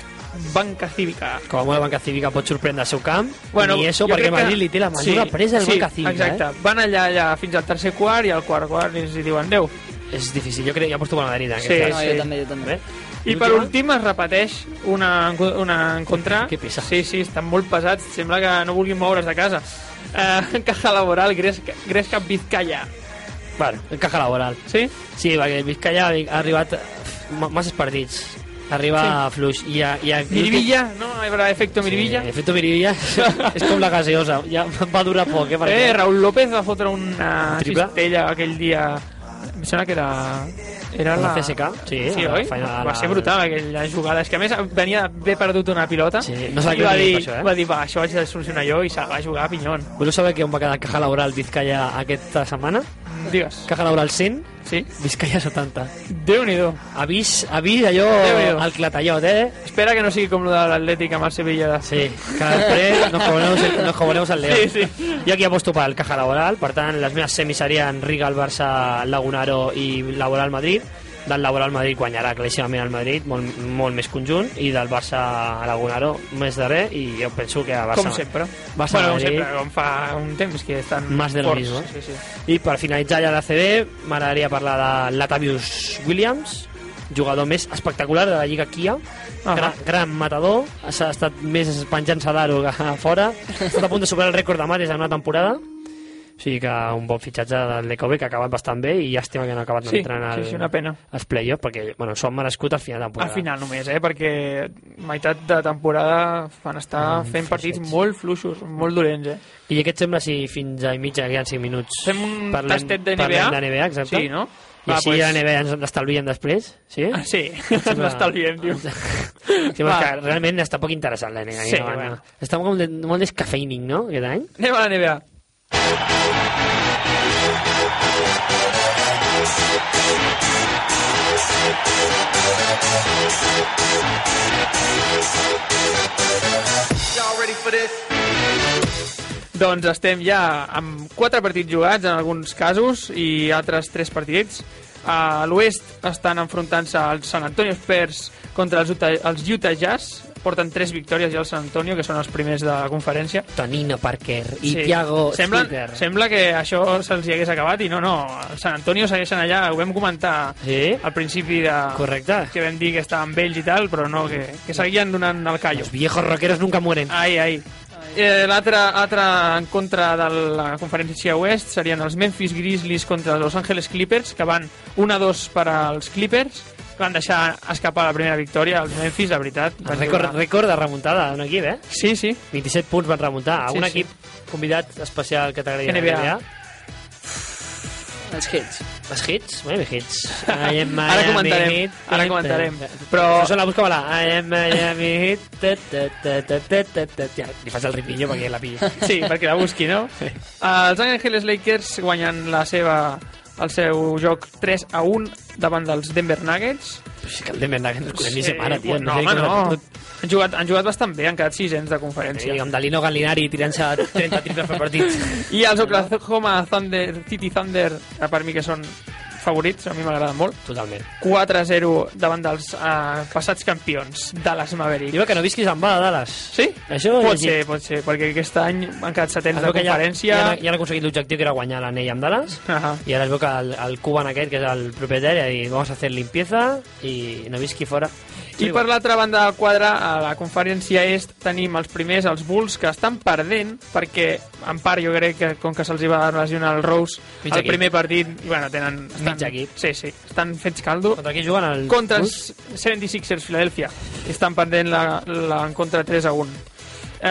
Speaker 4: Banca Cívica.
Speaker 3: com a molt banca cívica pot sorprendre el seu camp bueno, i això
Speaker 4: jo
Speaker 3: perquè
Speaker 4: crec que-
Speaker 3: Madrid li té la mesura sí, presa al
Speaker 4: sí,
Speaker 3: banca cívica
Speaker 4: Exacte, eh? van allà, allà fins al tercer quart i al quart quart i els hi diuen adeu.
Speaker 3: eh? és difícil, jo crec que aposto per Madrid en
Speaker 4: Sí,
Speaker 3: aquest
Speaker 6: Ah,
Speaker 3: Eh?
Speaker 6: No,
Speaker 4: sí.
Speaker 6: jo també, jo també.
Speaker 3: Bé.
Speaker 4: I per últim es repeteix una, enco- una en contra.
Speaker 3: Que pesa.
Speaker 4: Sí, sí, estan molt pesats. Sembla que no vulguin moure's de casa. Eh, caja laboral, Gresca, Gresca Vizcaya.
Speaker 3: cas bueno, encaja laboral
Speaker 4: Sí?
Speaker 3: sí, perquè el Vizcaya ha arribat ma- masses partits arriba sí. fluix i a, i a
Speaker 4: Mirivilla, no? Habrá efecto Mirivilla.
Speaker 3: Sí, efecte Mirivilla és com la gaseosa, ja va durar poc, eh?
Speaker 4: Eh,
Speaker 3: perquè-
Speaker 4: Raúl López va fotre una
Speaker 3: Triple.
Speaker 4: cistella aquell dia. Em sembla que era... Era
Speaker 3: Una
Speaker 4: la...
Speaker 3: CSK, sí,
Speaker 4: sí
Speaker 3: a la
Speaker 4: oi?
Speaker 3: final-
Speaker 4: va ser brutal aquella jugada. És que a més venia d'haver perdut una pilota
Speaker 3: Sí, no se la
Speaker 4: i
Speaker 3: creu
Speaker 4: va
Speaker 3: ni
Speaker 4: dir,
Speaker 3: per això, eh?
Speaker 4: va dir, va, això haig de solucionar jo i se la va jugar a pinyon.
Speaker 3: Voleu saber que on va quedar Caja Laboral Vizcaya aquesta setmana?
Speaker 4: Digues.
Speaker 3: Caja Laboral 100,
Speaker 4: Sí?
Speaker 3: Vizcaya 70.
Speaker 4: Déu-n'hi-do.
Speaker 3: Avís, avís allò
Speaker 4: Déu-n'hi-do.
Speaker 3: al clatallot, eh?
Speaker 4: Espera que no sigui com lo de l'Atlètic amb el Sevilla. De...
Speaker 3: Sí, que després nos cobremos el, nos cobremos al León.
Speaker 4: Sí, sí.
Speaker 3: Jo aquí aposto pel Caja Laboral, per tant, les meves semis serien Riga, el Barça, Lagunaro i Laboral Madrid. Del Laboral Madrid guanyarà claríssimament el Madrid, molt, molt més conjunt, i del Barça a Lagunaro més darrer, i jo penso que a Barça...
Speaker 4: Com sempre.
Speaker 3: Barça
Speaker 4: bueno, com
Speaker 3: Madrid.
Speaker 4: sempre, com fa un temps que estan
Speaker 3: Más de lo
Speaker 4: forts.
Speaker 3: mismo.
Speaker 4: Sí, sí.
Speaker 3: I per finalitzar ja la CB, m'agradaria parlar de Latavius Williams, jugador més espectacular de la Lliga Kia,
Speaker 4: Ah,
Speaker 3: gran, gran matador, s'ha estat més penjant-se d'aro que a fora, ha estat a punt de superar el rècord de mates en una temporada, o sigui que un bon fitxatge del Lecove que ha acabat bastant bé i llàstima que no ha acabat
Speaker 4: Sí,
Speaker 3: entrant al,
Speaker 4: sí, sí, una pena.
Speaker 3: als playoffs perquè bueno, s'ho han merescut al final de
Speaker 4: Al
Speaker 3: temporada.
Speaker 4: final només, eh? Perquè meitat de temporada van estar
Speaker 3: Mm,
Speaker 4: fent partits molt fluixos, molt dolents, eh?
Speaker 3: I aquest sembla si fins a i mitja, que hi ha 5 minuts.
Speaker 4: Fem un
Speaker 3: parlem-
Speaker 4: tastet de NBA?
Speaker 3: Parlem de NBA, exacte.
Speaker 4: Sí, no?
Speaker 3: I així pues... a NBA ens l'estalviem després, sí?
Speaker 4: Ah, sí,
Speaker 3: Sembla-
Speaker 4: ens l'estalviem, diu.
Speaker 3: Sí, però és que realment està poc interessant la NBA.
Speaker 4: Sí,
Speaker 3: no, no.
Speaker 4: bueno.
Speaker 3: Està molt, de, molt descafeïning, no?, aquest any.
Speaker 4: Anem a la NBA.
Speaker 7: Y'all ready for this?
Speaker 4: Doncs estem ja amb quatre partits jugats en alguns casos i altres tres partits. A l'oest estan enfrontant-se els San Antonio Spurs contra els Utah, els Utah Jazz porten 3 victòries ja al San Antonio, que són els primers de la conferència.
Speaker 3: Tonino Parker i Thiago
Speaker 4: sembla,
Speaker 3: Splitter.
Speaker 4: Sembla que això se'ls hi hagués acabat i no, no, el Sant Antonio segueixen allà, ho vam comentar
Speaker 3: Sí?
Speaker 4: al principi de...
Speaker 3: Correcte.
Speaker 4: que vam dir que estaven vells i tal, però no, que, que seguien donant el callo.
Speaker 3: Los viejos rockeros nunca mueren.
Speaker 4: Ai, ai. Eh, L'altre altre en contra de la conferència oest serien els Memphis Grizzlies contra els Los Angeles Clippers, que van 1-2 per als Clippers, que van deixar escapar la primera victòria als Memphis, la veritat.
Speaker 3: El
Speaker 4: Van
Speaker 3: rècord,
Speaker 4: jugar-
Speaker 3: rècord de remuntada d'un equip, eh?
Speaker 4: Sí, sí.
Speaker 3: 27 punts van remuntar a
Speaker 4: Sí,
Speaker 3: un
Speaker 4: sí.
Speaker 3: equip convidat especial que t'agradi de
Speaker 4: NBA.
Speaker 6: Els hits.
Speaker 3: Els hits? Bueno, hits. I am
Speaker 4: Ara
Speaker 3: Miami
Speaker 4: comentarem,
Speaker 3: Heat.
Speaker 4: ara
Speaker 3: I am-
Speaker 4: comentarem.
Speaker 3: Però...
Speaker 4: Però-
Speaker 3: Això la busca-la. I am Miami Heat. Ta, ta, ta, ta, ta, ta, ta. Ja, li fas el ripillo perquè la pilla.
Speaker 4: Sí, perquè la busqui, no? Eh, Els Angeles Lakers guanyen la seva, el seu joc 3 a 1 davant dels Denver Nuggets.
Speaker 3: Però és que el Denver Nuggets el coneixíssim ara, tio.
Speaker 4: No,
Speaker 3: sé
Speaker 4: home,
Speaker 3: com
Speaker 4: no.
Speaker 3: la-
Speaker 4: Han jugat, han jugat bastant bé, han quedat sisens de
Speaker 3: Sí,
Speaker 4: conferència.
Speaker 3: amb Dalino Gallinari tirant-se 30 triples per partit.
Speaker 4: I els Oklahoma Thunder, City Thunder, que per mi que són favorits, a mi m'agraden molt,
Speaker 3: Totalment.
Speaker 4: 4-0 davant dels eh, passats campions, Dallas Mavericks.
Speaker 3: Diu que no visquis en va de Dallas.
Speaker 4: Sí?
Speaker 3: Això
Speaker 4: pot
Speaker 3: he llegit.
Speaker 4: ser, pot ser, perquè aquest any han quedat setents
Speaker 3: Es
Speaker 4: de
Speaker 3: veu que ja,
Speaker 4: conferència.
Speaker 3: ja, han- ja han aconseguit l'objectiu que era guanyar l'anell amb Dallas.
Speaker 4: Ahà.
Speaker 3: I ara es veu que el, el cuban aquest, que és el propietari, ha dit vamos a hacer limpieza i no visqui fora.
Speaker 4: I per l'altra banda del quadre, a la conferència est, tenim els primers, els Bulls, que estan perdent, perquè en part jo crec que com que se'ls hi va lesionar el Rose,
Speaker 3: Mig
Speaker 4: el
Speaker 3: equip.
Speaker 4: primer partit, i bueno, tenen... Estan,
Speaker 3: Mig equip.
Speaker 4: Sí, sí, estan fets caldo.
Speaker 3: Contra qui juguen? El...
Speaker 4: Contra
Speaker 3: Bulls?
Speaker 4: els 76ers, Filadèlfia. Estan perdent la, la, en contra 3 a 1. Eh,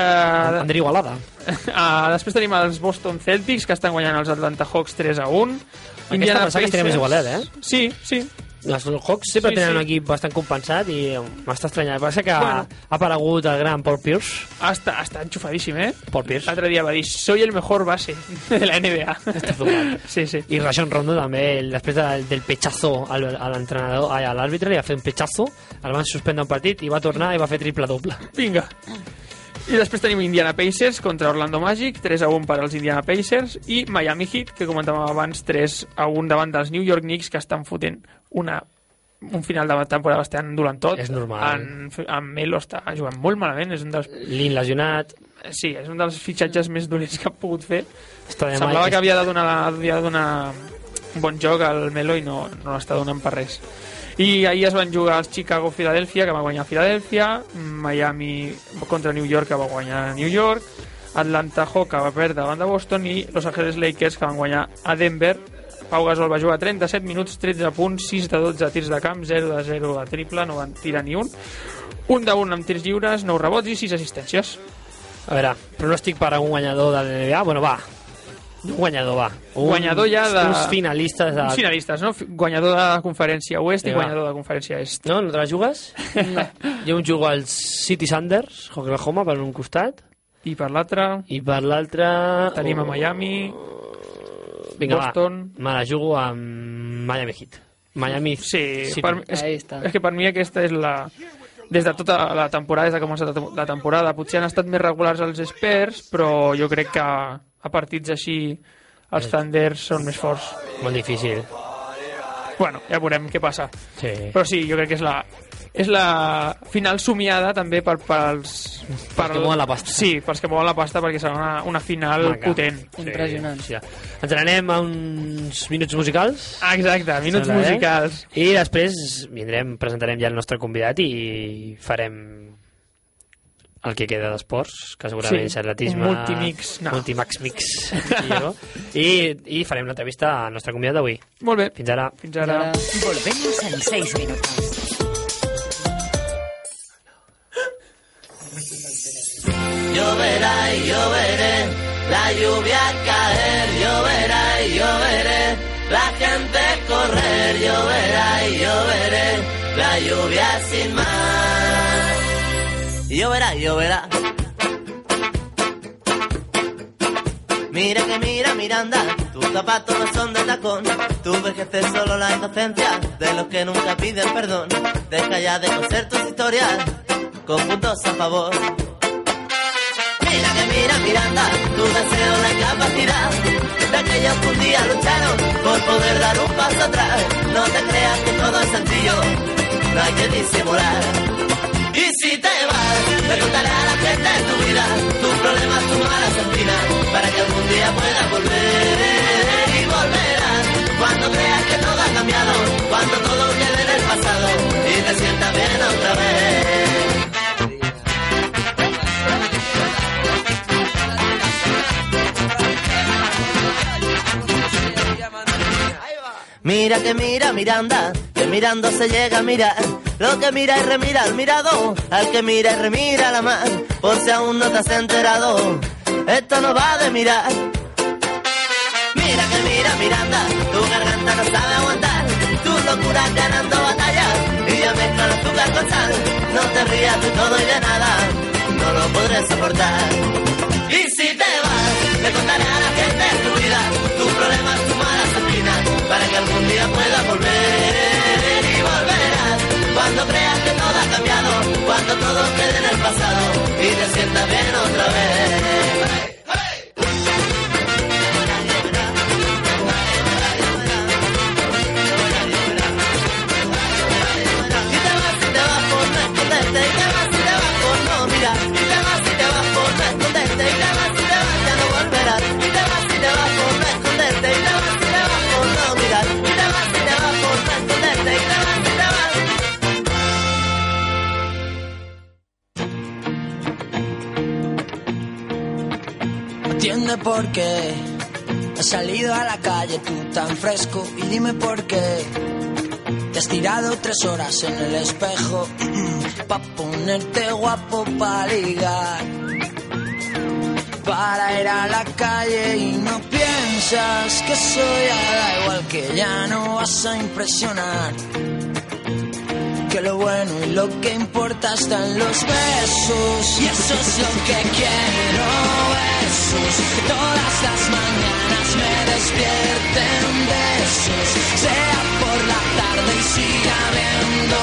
Speaker 3: André Igualada.
Speaker 4: Uh, després tenim els Boston Celtics, que estan guanyant els Atlanta Hawks 3 a 1.
Speaker 3: Aquesta pensava que estaria més igualat, eh?
Speaker 4: Sí, sí.
Speaker 3: Els Hawks sempre
Speaker 4: Sí,
Speaker 3: sí, tenen
Speaker 4: sí.
Speaker 3: un equip bastant compensat i m'està estranyant. Passa que
Speaker 4: Bueno.
Speaker 3: bueno. ha aparegut el gran Paul Pierce.
Speaker 4: Està, està enxufadíssim, eh?
Speaker 3: Paul Pierce.
Speaker 4: L'altre dia va dir, soy el mejor base de la NBA.
Speaker 3: Està flipat.
Speaker 4: Sí, sí.
Speaker 3: I Rajon Rondo també, el, després del, del petxazo al, a l'entrenador, ai, a l'àrbitre, li va fer un petxazo, el van suspendre un partit i va tornar i va fer triple-doble.
Speaker 4: Vinga. I després tenim Indiana Pacers contra Orlando Magic, 3 a 1 per als Indiana Pacers, i Miami Heat, que comentàvem abans, 3 a 1 davant dels New York Knicks, que estan fotent una, un final de temporada bastant dolent tot.
Speaker 3: És normal.
Speaker 4: En, en Melo està jugant molt malament, és un dels,
Speaker 3: Lin lesionat,
Speaker 4: sí, és un dels fitxatges més dolents que ha pogut fer.
Speaker 3: està de
Speaker 4: Semblava
Speaker 3: mai-
Speaker 4: que havia de donar, havia de donar un bon joc al Melo i no, no l'està donant per res. I ahir es van jugar els Chicago-Filadèlfia, que va guanyar Filadèlfia, Miami contra New York, que va guanyar New York, Atlanta Hawk, que va perdre davant de Boston, i Los Angeles Lakers, que van guanyar a Denver. Pau Gasol va jugar 37 minuts, 13 punts, 6 de 12 tirs de camp, 0 de 0 de triple, no van tirar ni un. Un de un amb tirs lliures, 9 rebots i 6 assistències.
Speaker 3: A veure, pronòstic per a un guanyador de la NBA? Bueno, va. Un guanyador, va. Un,
Speaker 4: Guanyador ja de-
Speaker 3: Uns finalistes de...
Speaker 4: Uns finalistes, no? Fi- Guanyador de la conferència oest i
Speaker 3: Vinga.
Speaker 4: guanyador de la conferència est.
Speaker 3: No? No te la jugues? No. Jo em jugo als City Sanders, Oklahoma, per un costat,
Speaker 4: I per l'altre
Speaker 3: i per l'altre... oh,
Speaker 4: tenim a Miami,
Speaker 3: Vinga,
Speaker 4: Boston.
Speaker 3: va, me la jugo amb Miami Heat. Miami
Speaker 4: Sí,
Speaker 3: City.
Speaker 4: per, és,
Speaker 6: Ahí està.
Speaker 4: és que per mi aquesta és la... Des de tota la temporada, des de que ha començat la tem- la temporada, potser han estat més regulars els experts, però jo crec que a partits així els Thunders són més forts.
Speaker 3: Molt difícil.
Speaker 4: Bueno, ja veurem què passa.
Speaker 3: Sí.
Speaker 4: Però sí, jo crec que és la, és la final somiada també per, pels... Per,
Speaker 3: que mouen la pasta.
Speaker 4: Sí, pels que mouen la pasta, perquè serà una, una final
Speaker 3: Maca.
Speaker 4: potent.
Speaker 6: Impressionant.
Speaker 3: Sí, ja. Ens n'anem a uns minuts musicals.
Speaker 4: Ah, Exacte, minuts
Speaker 3: Sembla, eh?
Speaker 4: musicals.
Speaker 3: I després vindrem, presentarem ja el nostre convidat i farem el que queda d'esports, que segurament
Speaker 4: Sí,
Speaker 3: sí, atletisme...
Speaker 4: un multimix, no.
Speaker 3: Multimax mix. i, jo. I, I farem l'entrevista al nostre convidat d'avui.
Speaker 4: Molt bé,
Speaker 3: Fins ara.
Speaker 4: fins ara.
Speaker 6: Ara-
Speaker 8: Volvemos en seis minutos.
Speaker 9: Lloverá, lloverá. Mira que mira, Miranda, tus zapatos no son de tacón. Tú ves que es solo la inocencia de los que nunca piden perdón. Deja ya de coser tus historias con puntos a favor. Mira que mira, Miranda, tu deseo la incapacidad de aquellos que un día lucharon por poder dar un paso atrás. No te creas que todo es sencillo, no hay que disimular. Y si te vas, final. Le contaré a la gente tu vida, tus problemas, tus malas espinas, para que algún día puedas volver y volverás. Cuando creas que todo ha cambiado, cuando todo quede en el pasado y te sientas bien otra vez. Mira que mira Miranda, que mirando se llega a mirar. Lo que mira y remira al mirado, al que mira y remira la mar. Por si aún no te has enterado, esto no va de mirar. Mira que mira Miranda, tu garganta no sabe aguantar. Tus locuras ganando batalla y ya mezclan azúcar con sal. No te rías de todo y de nada, no lo podré soportar. Y si te vas, le contaré a la gente tu vida, tus problemas, tus malas espinas, para que algún día puedas volver y volverás. Cuando creas que todo ha cambiado, cuando todo quede en el pasado y te sientas bien otra vez. Y te vas y te vas por no esconderte, y te vas y te vas por no mirar, y te vas y te vas por no esconderte, y te vas y te vas ya no volverás, y te vas y te vas por no esconderte, y te vas y te vas por no mirar, y te vas y te vas por no esconderte, y te vas y te vas.
Speaker 7: Entiende por qué has salido a la calle tú tan fresco y dime por qué te has tirado tres horas en el espejo mm, pa ponerte guapo pa ligar para ir a la calle y no piensas que soy ya da igual que ya no vas a impresionar que lo bueno y lo que importa están los besos y eso es lo que quiero besos que todas las mañanas me despierten besos sea por la tarde y siga habiendo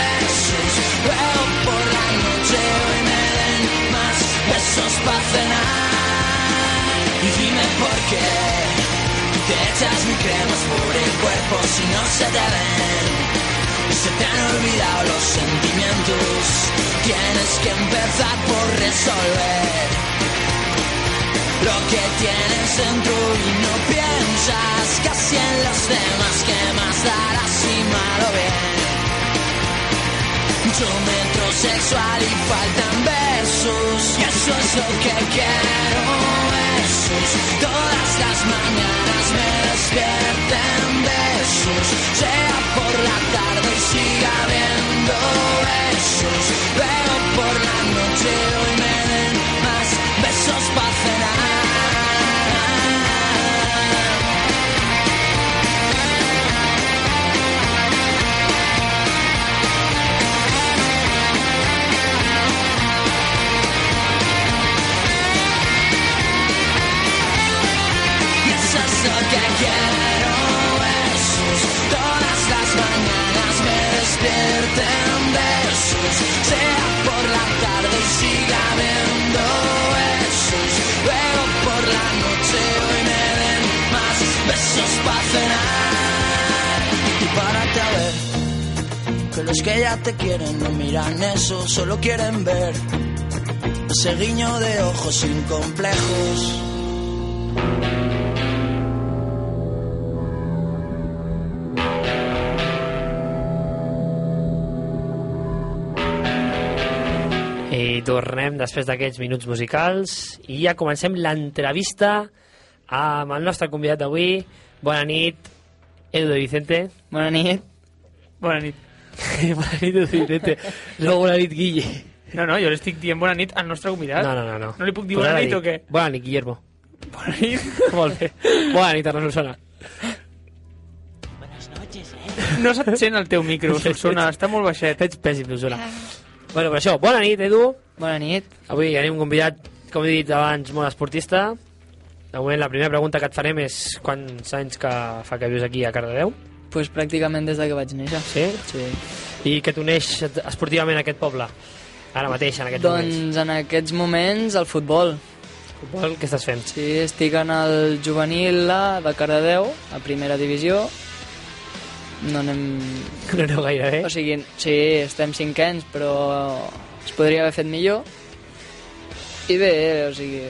Speaker 7: besos luego por la noche hoy me den más besos para cenar y dime por qué te echas mi cremas por el cuerpo si no se te ven se te han olvidado los sentimientos. Tienes que empezar por resolver lo que tienes dentro y no piensas casi en los demás que más dará si malo bien. Yo me heterosexual y faltan besos y eso es lo que quiero. Besos, todas las mañanas me despierten besos, sea por la tarde y siga habiendo besos. Luego por la noche hoy me den más besos para cenar. Y eso es lo que quiero besos Todas las mañanas me despierten besos Sea por la tarde y siga viendo besos Luego por la noche hoy me den más besos para cenar Y párate a ver Que los que ya te quieren no miran eso Solo quieren ver ese guiño de ojos sin complejos
Speaker 3: I tornem després d'aquests minuts musicals i ja comencem l'entrevista amb el nostre convidat d'avui. Bona nit, Edu de Vicente.
Speaker 6: Bona nit.
Speaker 4: Bona nit.
Speaker 3: bona nit, Edu de Vicente. No, bona nit, Guille.
Speaker 4: No, no, jo li estic dient bona nit al nostre convidat.
Speaker 3: No, no, no. No,
Speaker 4: Ah? No li puc dir
Speaker 3: Però
Speaker 4: bona
Speaker 3: ara
Speaker 4: nit
Speaker 3: dic.
Speaker 4: o què?
Speaker 3: Bona nit, Guillermo.
Speaker 4: Bona nit.
Speaker 3: Molt bé. Bona nit, Arnau Solsona.
Speaker 4: No se't sent el teu micro, Solsona, està molt baixet.
Speaker 3: Ets pèssim, Solsona. Bueno, però això, bona nit, Edu.
Speaker 6: Bona nit.
Speaker 3: Avui tenim un convidat, com he dit abans, molt esportista. De moment, la primera pregunta que et farem és quants anys que fa que vius aquí a Cardedeu
Speaker 6: Pues pràcticament des de que vaig néixer.
Speaker 3: Sí?
Speaker 6: Sí.
Speaker 3: i que t'uneix esportivament a aquest poble. Ara mateix, en aquests moments.
Speaker 6: Doncs en aquests moments el futbol.
Speaker 3: Futbol, què estàs fent?
Speaker 6: Sí, estic en el juvenil A de Cardedeu, a primera divisió. No anem...
Speaker 3: No aneu gaire bé.
Speaker 6: O sigui, sí, estem cinquens, però es podria haver fet millor. I bé, eh, o sigui...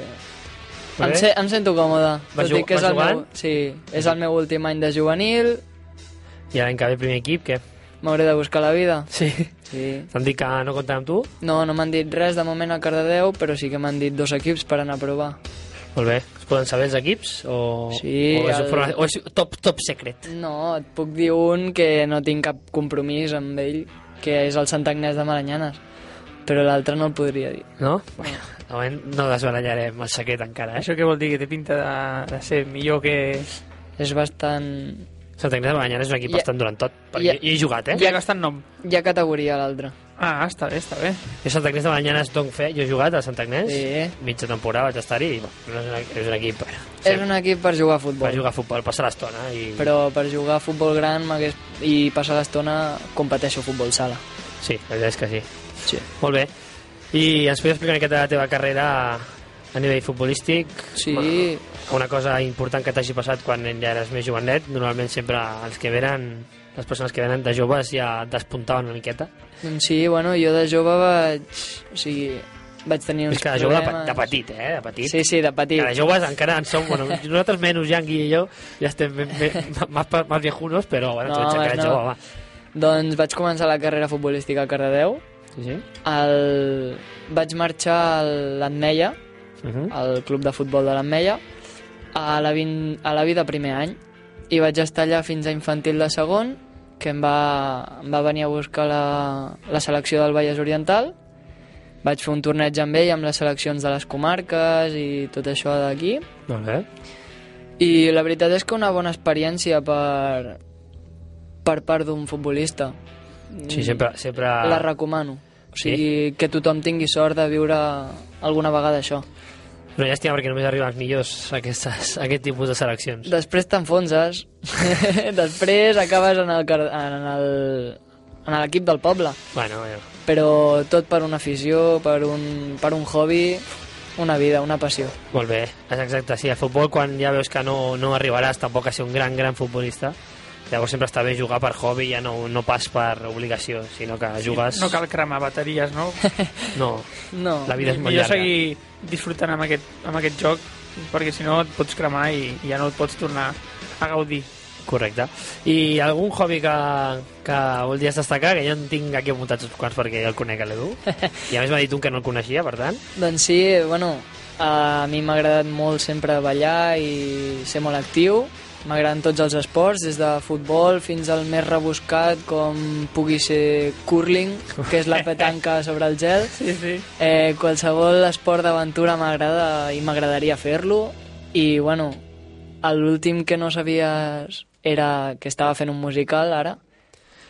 Speaker 3: Molt
Speaker 6: Em,
Speaker 3: bé.
Speaker 6: se, em sento còmode.
Speaker 3: Vas
Speaker 6: tot i
Speaker 3: ju-
Speaker 6: que és
Speaker 3: vas
Speaker 6: el meu,
Speaker 3: jugant?
Speaker 6: sí, és el meu últim any de juvenil,
Speaker 3: I l'any que ve el primer equip, què?
Speaker 6: m'hauré de buscar la vida.
Speaker 3: Sí.
Speaker 6: Sí.
Speaker 3: T'han dit que no compten amb tu?
Speaker 6: No, no m'han dit res de moment a Cardedeu, però sí que m'han dit dos equips per anar a provar.
Speaker 3: Molt bé. Es poden saber els equips? O,
Speaker 6: Sí,
Speaker 3: o, és,
Speaker 6: el-
Speaker 3: informa- o és top, top secret?
Speaker 6: No, et puc dir un que no tinc cap compromís amb ell, que és el Sant Agnès de Maranyanes, però l'altre no el podria dir.
Speaker 3: No? Bueno, de moment no desbarallarem el secret encara, eh?
Speaker 4: Això què vol dir? Que té pinta de, de ser millor que...
Speaker 6: És bastant...
Speaker 3: Santa Inés de Balanyana és un equip
Speaker 6: Ja-
Speaker 3: bastant durant tot. Perquè
Speaker 6: ja-
Speaker 3: hi he jugat, eh?
Speaker 4: Hi ha gastant nom.
Speaker 6: Hi ha categoria a l'altre.
Speaker 4: Ah, està bé, està bé.
Speaker 3: Jo Santa Inés de Balanyana es dono fe, jo he jugat a Santa Inés,
Speaker 6: Sí.
Speaker 3: mitja temporada vaig estar-hi, i bueno, és, un, és un equip per,
Speaker 6: És un equip per jugar a
Speaker 3: per
Speaker 6: futbol,
Speaker 3: jugar a futbol, passar l'estona i...
Speaker 6: però per jugar a futbol gran m'hagués- i passar l'estona competeixo a futbol sala.
Speaker 3: Sí, la veritat és que sí.
Speaker 6: Sí.
Speaker 3: Molt bé. I ens podries explicar una miqueta la teva carrera a nivell futbolístic?
Speaker 6: Sí.
Speaker 3: Una cosa important que t'hagi passat quan ja eres més jovenet, normalment sempre els que venen, les persones que venen de joves ja despuntaven una miqueta.
Speaker 6: Doncs sí, bueno, jo de jove vaig... O sigui, vaig tenir uns
Speaker 3: és que de jove de,
Speaker 6: problemes...
Speaker 3: pe- de petit, eh? De petit.
Speaker 6: Sí, sí, de
Speaker 3: Que
Speaker 6: petit.
Speaker 3: de joves encara en som, bueno, nosaltres menys, ja en Gui i jo, ja estem ben, ben, más, pa- más viejunos, però bueno, tu
Speaker 6: No,
Speaker 3: ets encara
Speaker 6: no.
Speaker 3: jove, va.
Speaker 6: Doncs vaig començar la carrera futbolística a Cardedeu.
Speaker 3: Sí, sí.
Speaker 6: El... Vaig marxar a l'Atmeia,
Speaker 3: Uh -huh.
Speaker 6: al club de futbol de l'Atmeia, a la, vin... a la vida primer any, i vaig estar allà fins a infantil de segon, que em va, em va venir a buscar la, la selecció del Vallès Oriental. Vaig fer un torneig amb ell, amb les seleccions de les comarques i tot això d'aquí.
Speaker 3: Molt bé.
Speaker 6: I la veritat és que una bona experiència per, per part d'un futbolista.
Speaker 3: Sí, sempre... sempre...
Speaker 6: Mm. La recomano. O sigui, que tothom tingui sort de viure alguna vegada això.
Speaker 3: Però llàstima perquè només arriben els millors a aquestes, a aquest tipus de seleccions.
Speaker 6: Després t'enfonses. Després acabes en el, car- en el en l'equip del poble.
Speaker 3: Bueno, bueno.
Speaker 6: Però tot per una afició, per un, per un hobby, una vida, una passió.
Speaker 3: Molt bé, és exacte. Sí, el futbol, quan ja veus que no, no arribaràs tampoc a ser un gran, gran futbolista, llavors sempre està bé jugar per hobby, ja no, no pas per obligació, sinó que jugues...
Speaker 4: No cal cremar bateries, no?
Speaker 3: No,
Speaker 6: No.
Speaker 3: la vida és molt
Speaker 4: Millor
Speaker 3: llarga.
Speaker 4: seguir disfrutant amb aquest, amb aquest joc, perquè si no et pots cremar i, i ja no et pots tornar a gaudir.
Speaker 3: Correcte. I algun hobby que, que voldries destacar, que jo en tinc aquí apuntats uns quants perquè el conec a l'Edu, i a més m'ha dit un que no el coneixia, per tant.
Speaker 6: Doncs sí, bueno, a mi m'ha agradat molt sempre ballar i ser molt actiu. M'agraden tots els esports, des de futbol fins al més rebuscat, com pugui ser curling, que és la petanca sobre el gel.
Speaker 4: Sí, sí.
Speaker 6: Eh, qualsevol esport d'aventura m'agrada i m'agradaria fer-lo. I, bueno, l'últim que no sabies era que estava fent un musical, ara,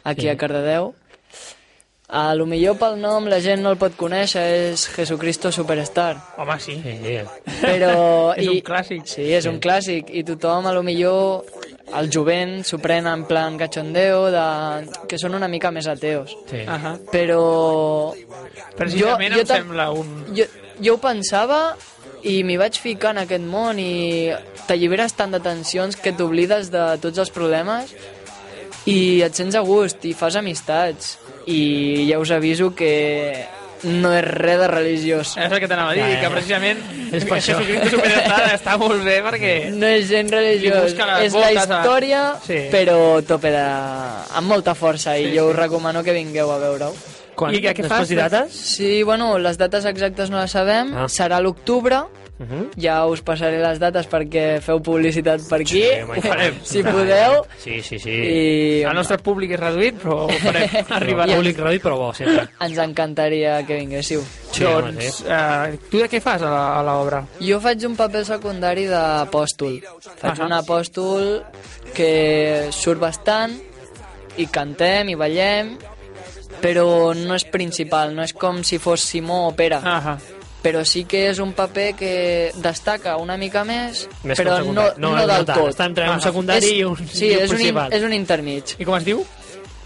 Speaker 6: aquí
Speaker 3: Sí.
Speaker 6: a Cardedeu. A lo millor pel nom la gent no el pot conèixer, és Jesucristo Superstar.
Speaker 4: Home, sí.
Speaker 3: Sí, sí.
Speaker 6: Però...
Speaker 4: És un clàssic.
Speaker 6: Sí, és un clàssic. I tothom, a lo millor, el jovent s'ho pren en plan cachondeo, de... que són una mica més ateos.
Speaker 3: sí. Ah.
Speaker 4: Ahà.
Speaker 6: Però...
Speaker 4: Precisament em
Speaker 6: tam-
Speaker 4: sembla un...
Speaker 6: Jo, jo ho pensava i m'hi vaig ficar en aquest món i t'alliberes tant de tensions que t'oblides de tots els problemes i et sents a gust i fas amistats i ja us aviso que no és res de religiós
Speaker 4: És el que t'anava a dir,
Speaker 3: Ja, ja,
Speaker 4: que
Speaker 3: ja.
Speaker 4: precisament
Speaker 3: És per això.
Speaker 4: Jesucristo Superstar està molt bé perquè...
Speaker 6: no és gent religiós,
Speaker 4: busca les
Speaker 6: és la
Speaker 4: voltes a-
Speaker 6: història,
Speaker 4: Sí.
Speaker 6: però tope de... amb molta força i jo us recomano que vingueu a veure-ho.
Speaker 3: Quan,
Speaker 4: I que- què
Speaker 3: després
Speaker 4: fas?
Speaker 3: i dates?
Speaker 6: Sí, bueno, les dates exactes no les sabem,
Speaker 3: Ah.
Speaker 6: serà a l'octubre,
Speaker 4: Eh,
Speaker 3: Uh -huh.
Speaker 6: ja us passaré les dates perquè feu publicitat per aquí,
Speaker 3: home, hi farem.
Speaker 6: si podeu,
Speaker 3: Eh, Sí, sí, sí. Ah,
Speaker 6: i
Speaker 4: El nostre públic és reduït, però ho farem
Speaker 3: Arriba
Speaker 4: arribar.
Speaker 3: al públic reduït, però bo, sempre.
Speaker 6: ens encantaria que vinguéssiu.
Speaker 3: Sí, home,
Speaker 4: doncs,
Speaker 3: sí.
Speaker 4: eh, tu de què fas a la- a l'obra?
Speaker 6: Jo faig un paper secundari d'apòstol. Faig
Speaker 4: Ahà.
Speaker 6: un apòstol que surt bastant i cantem i ballem, però no és principal, no és com si fos Simó o Pere.
Speaker 3: Ah.
Speaker 4: Ahà.
Speaker 6: Però sí que és un paper que destaca una mica més,
Speaker 3: Més que
Speaker 6: però
Speaker 3: un
Speaker 6: no,
Speaker 3: secundari.
Speaker 6: no, del
Speaker 3: tant.
Speaker 6: tot.
Speaker 3: Està entre un
Speaker 6: Ahà.
Speaker 3: secundari
Speaker 6: és,
Speaker 3: i un-
Speaker 6: sí,
Speaker 3: i un
Speaker 6: és, un in,
Speaker 3: principal.
Speaker 6: és un intermig.
Speaker 4: I com es diu?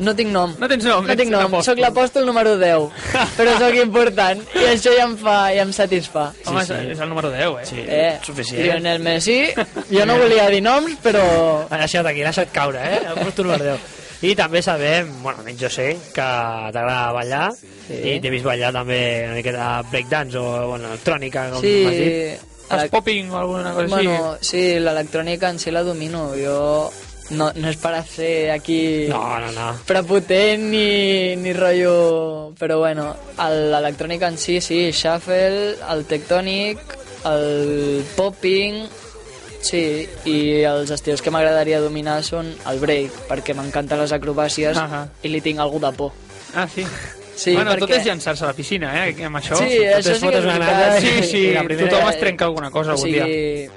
Speaker 6: No tinc nom.
Speaker 4: No tens nom,
Speaker 6: No
Speaker 4: ets
Speaker 6: tinc nom.
Speaker 4: apòstol.
Speaker 6: Soc l'apòstol número 10, però sóc important. I això ja em fa, ja em satisfà.
Speaker 4: Home, és- és el número 10, eh?
Speaker 6: Eh,
Speaker 3: suficient.
Speaker 6: Lionel Messi, jo no volia dir noms, però...
Speaker 3: Ha deixat aquí, l'ha deixat caure, eh? El post número 10. I també sabem, bueno, almenys jo sé, que t'agrada ballar i t'he vist ballar també una miqueta breakdance o bueno, electrònica, com
Speaker 6: Sí,
Speaker 3: m'has dit.
Speaker 6: la-
Speaker 4: Es popping o alguna cosa
Speaker 6: Bueno, sí, la electrónica en sí la domino. Yo no, no es para hacer aquí
Speaker 3: No, no, no.
Speaker 6: prepotent ni, ni rollo... Però bueno, el- l'electrònica en sí, sí, shuffle, el tectònic, el popping... Sí, i els estils que m'agradaria dominar són el break, perquè m'encanten les acrobàcies
Speaker 4: Ahà.
Speaker 6: i li tinc algú de por.
Speaker 4: així. Ah, sí.
Speaker 6: Sí,
Speaker 4: bueno, tot
Speaker 6: perquè-
Speaker 4: és llançar-se a la piscina, eh, amb això.
Speaker 6: Sí,
Speaker 3: Totes
Speaker 6: això sí que
Speaker 3: fotes
Speaker 6: és
Speaker 3: una
Speaker 6: veritat.
Speaker 3: nata
Speaker 4: Sí, sí,
Speaker 3: i la primera-
Speaker 4: tothom es trenca alguna cosa
Speaker 6: o
Speaker 4: algun
Speaker 6: sigui,
Speaker 4: dia.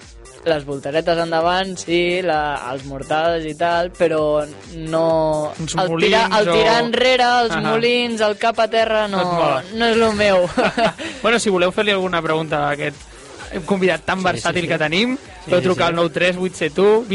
Speaker 6: les voltaretes endavant, sí, la, els mortals i tal, però no...
Speaker 4: Uns
Speaker 6: el, tirar,
Speaker 4: molins
Speaker 6: el tirar
Speaker 4: o-
Speaker 6: enrere, els
Speaker 4: Ahà.
Speaker 6: molins, el cap a terra, no,
Speaker 4: No et mola.
Speaker 6: no és el meu.
Speaker 4: bueno, si voleu fer-li alguna pregunta a aquest convidat tan versàtil que tenim, podeu trucar al 93871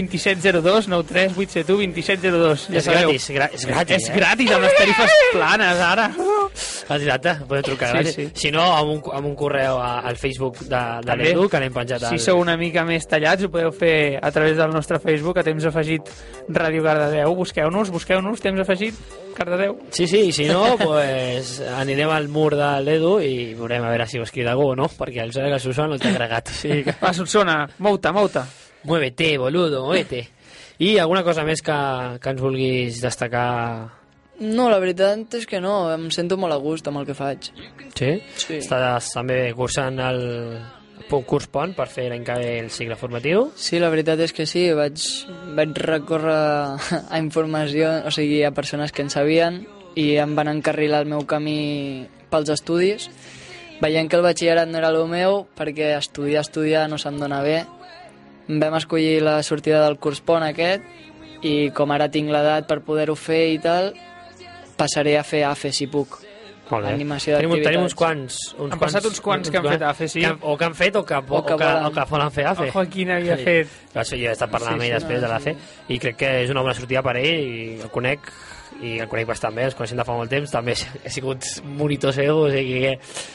Speaker 4: 2702, 93871 2702. Ja
Speaker 3: És
Speaker 4: sabeu.
Speaker 3: gratis, gra és gratis,
Speaker 4: És
Speaker 3: eh?
Speaker 4: gratis, amb les tarifes planes, ara.
Speaker 3: Exacte, podeu trucar
Speaker 4: Sí,
Speaker 3: gratis.
Speaker 4: sí.
Speaker 3: Si no, amb un, amb un correu a, al Facebook de, de
Speaker 4: També.
Speaker 3: l'Edu, que l'hem penjat al...
Speaker 4: Si sou una mica més tallats, ho podeu fer a través del nostre Facebook, a temps afegit Ràdio Cardedeu. Busqueu-nos, busqueu-nos, temps afegit Cardedeu.
Speaker 3: Sí, sí, i si no, pues, anirem al mur de l'Edu i veurem a veure si ho ha escrit algú o no, perquè el Sònia Susan no t'ha agregat. O sigui que...
Speaker 4: Va, Solsona, mou-te, mou-te.
Speaker 3: Muévete, boludo, muévete. I alguna cosa més que, que ens vulguis destacar?
Speaker 6: No, la veritat és que no, em sento molt a gust amb el que faig.
Speaker 3: Sí?
Speaker 6: Sí.
Speaker 3: Estàs també cursant el el curs pont per fer l'any que ve el cicle formatiu.
Speaker 6: Sí, la veritat és que sí, vaig, vaig recórrer a informació, o sigui, a persones que en sabien i em van encarrilar el meu camí pels estudis, veient que el batxillerat no era el meu perquè estudiar, estudiar no se'm dona bé. Vam escollir la sortida del curs PON aquest i com ara tinc l'edat per poder-ho fer i tal, passaré a fer AFE si puc.
Speaker 3: Molt bé.
Speaker 6: Animació
Speaker 3: tenim,
Speaker 6: d'activitats.
Speaker 3: tenim uns quants. Uns
Speaker 4: Han passat uns quants que han fet AFE, sí.
Speaker 3: Que han- o que han fet o que, o,
Speaker 6: O que
Speaker 3: que,
Speaker 6: volen.
Speaker 3: o que volen fer AFE.
Speaker 4: El Joaquín havia fet...
Speaker 3: Això jo he estat parlant amb ell després de l'AFE i crec que és una bona sortida per ell i el conec i el conec bastant bé, els coneixem de fa molt temps, també he sigut monitor seu, o sigui que...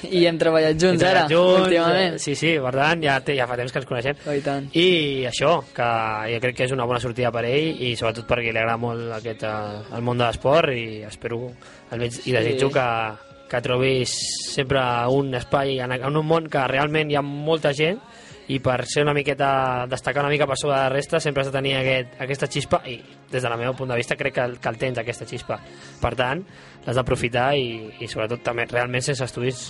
Speaker 6: I hem treballat junts ara,
Speaker 3: junts,
Speaker 6: últimament.
Speaker 3: eh, Sí, sí, per tant, ja, té, ja fa temps que ens coneixem.
Speaker 6: Oh, i tant.
Speaker 3: I això, que jo crec que és una bona sortida per ell i sobretot perquè li agrada molt aquest, eh, el món de l'esport i espero, almenys, i desitjo que, que trobis sempre un espai en, en un món que realment hi ha molta gent i per ser una miqueta, destacar una mica per sobre de la resta, sempre has de tenir aquest, aquesta xispa i des del meu punt de vista crec que, el- que el tens, aquesta xispa. Per tant, l'has d'aprofitar i, i sobretot també realment sense estudis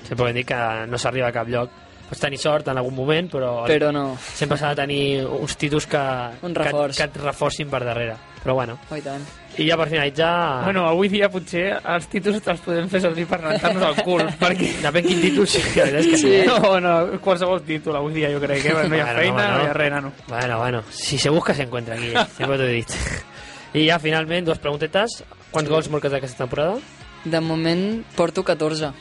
Speaker 3: sempre podem dir que no s'arriba a cap lloc. Pots tenir sort en algun moment, però...
Speaker 6: Però no,
Speaker 3: Sempre s'ha de tenir uns títols que,
Speaker 6: Un
Speaker 3: que,
Speaker 6: reforç.
Speaker 3: que et reforcin per darrere. Però bueno,
Speaker 6: oh, i tant.
Speaker 3: i ja per finalitzar...
Speaker 4: Bueno, avui dia potser els títols els podem fer servir per rentar-nos el cul, perquè...
Speaker 3: depèn quin títol sí, la veritat és que sí. eh?
Speaker 4: No, no, qualsevol títol avui dia jo crec que no hi ha
Speaker 3: Bueno,
Speaker 4: feina,
Speaker 3: home,
Speaker 4: no
Speaker 3: no.
Speaker 4: hi ha res, nano.
Speaker 3: Bueno, bueno, si se busca se encuentra aquí, eh? sempre t'ho he dit. I ja finalment, dues preguntetes. Quants gols marques aquesta temporada?
Speaker 6: De moment porto 14.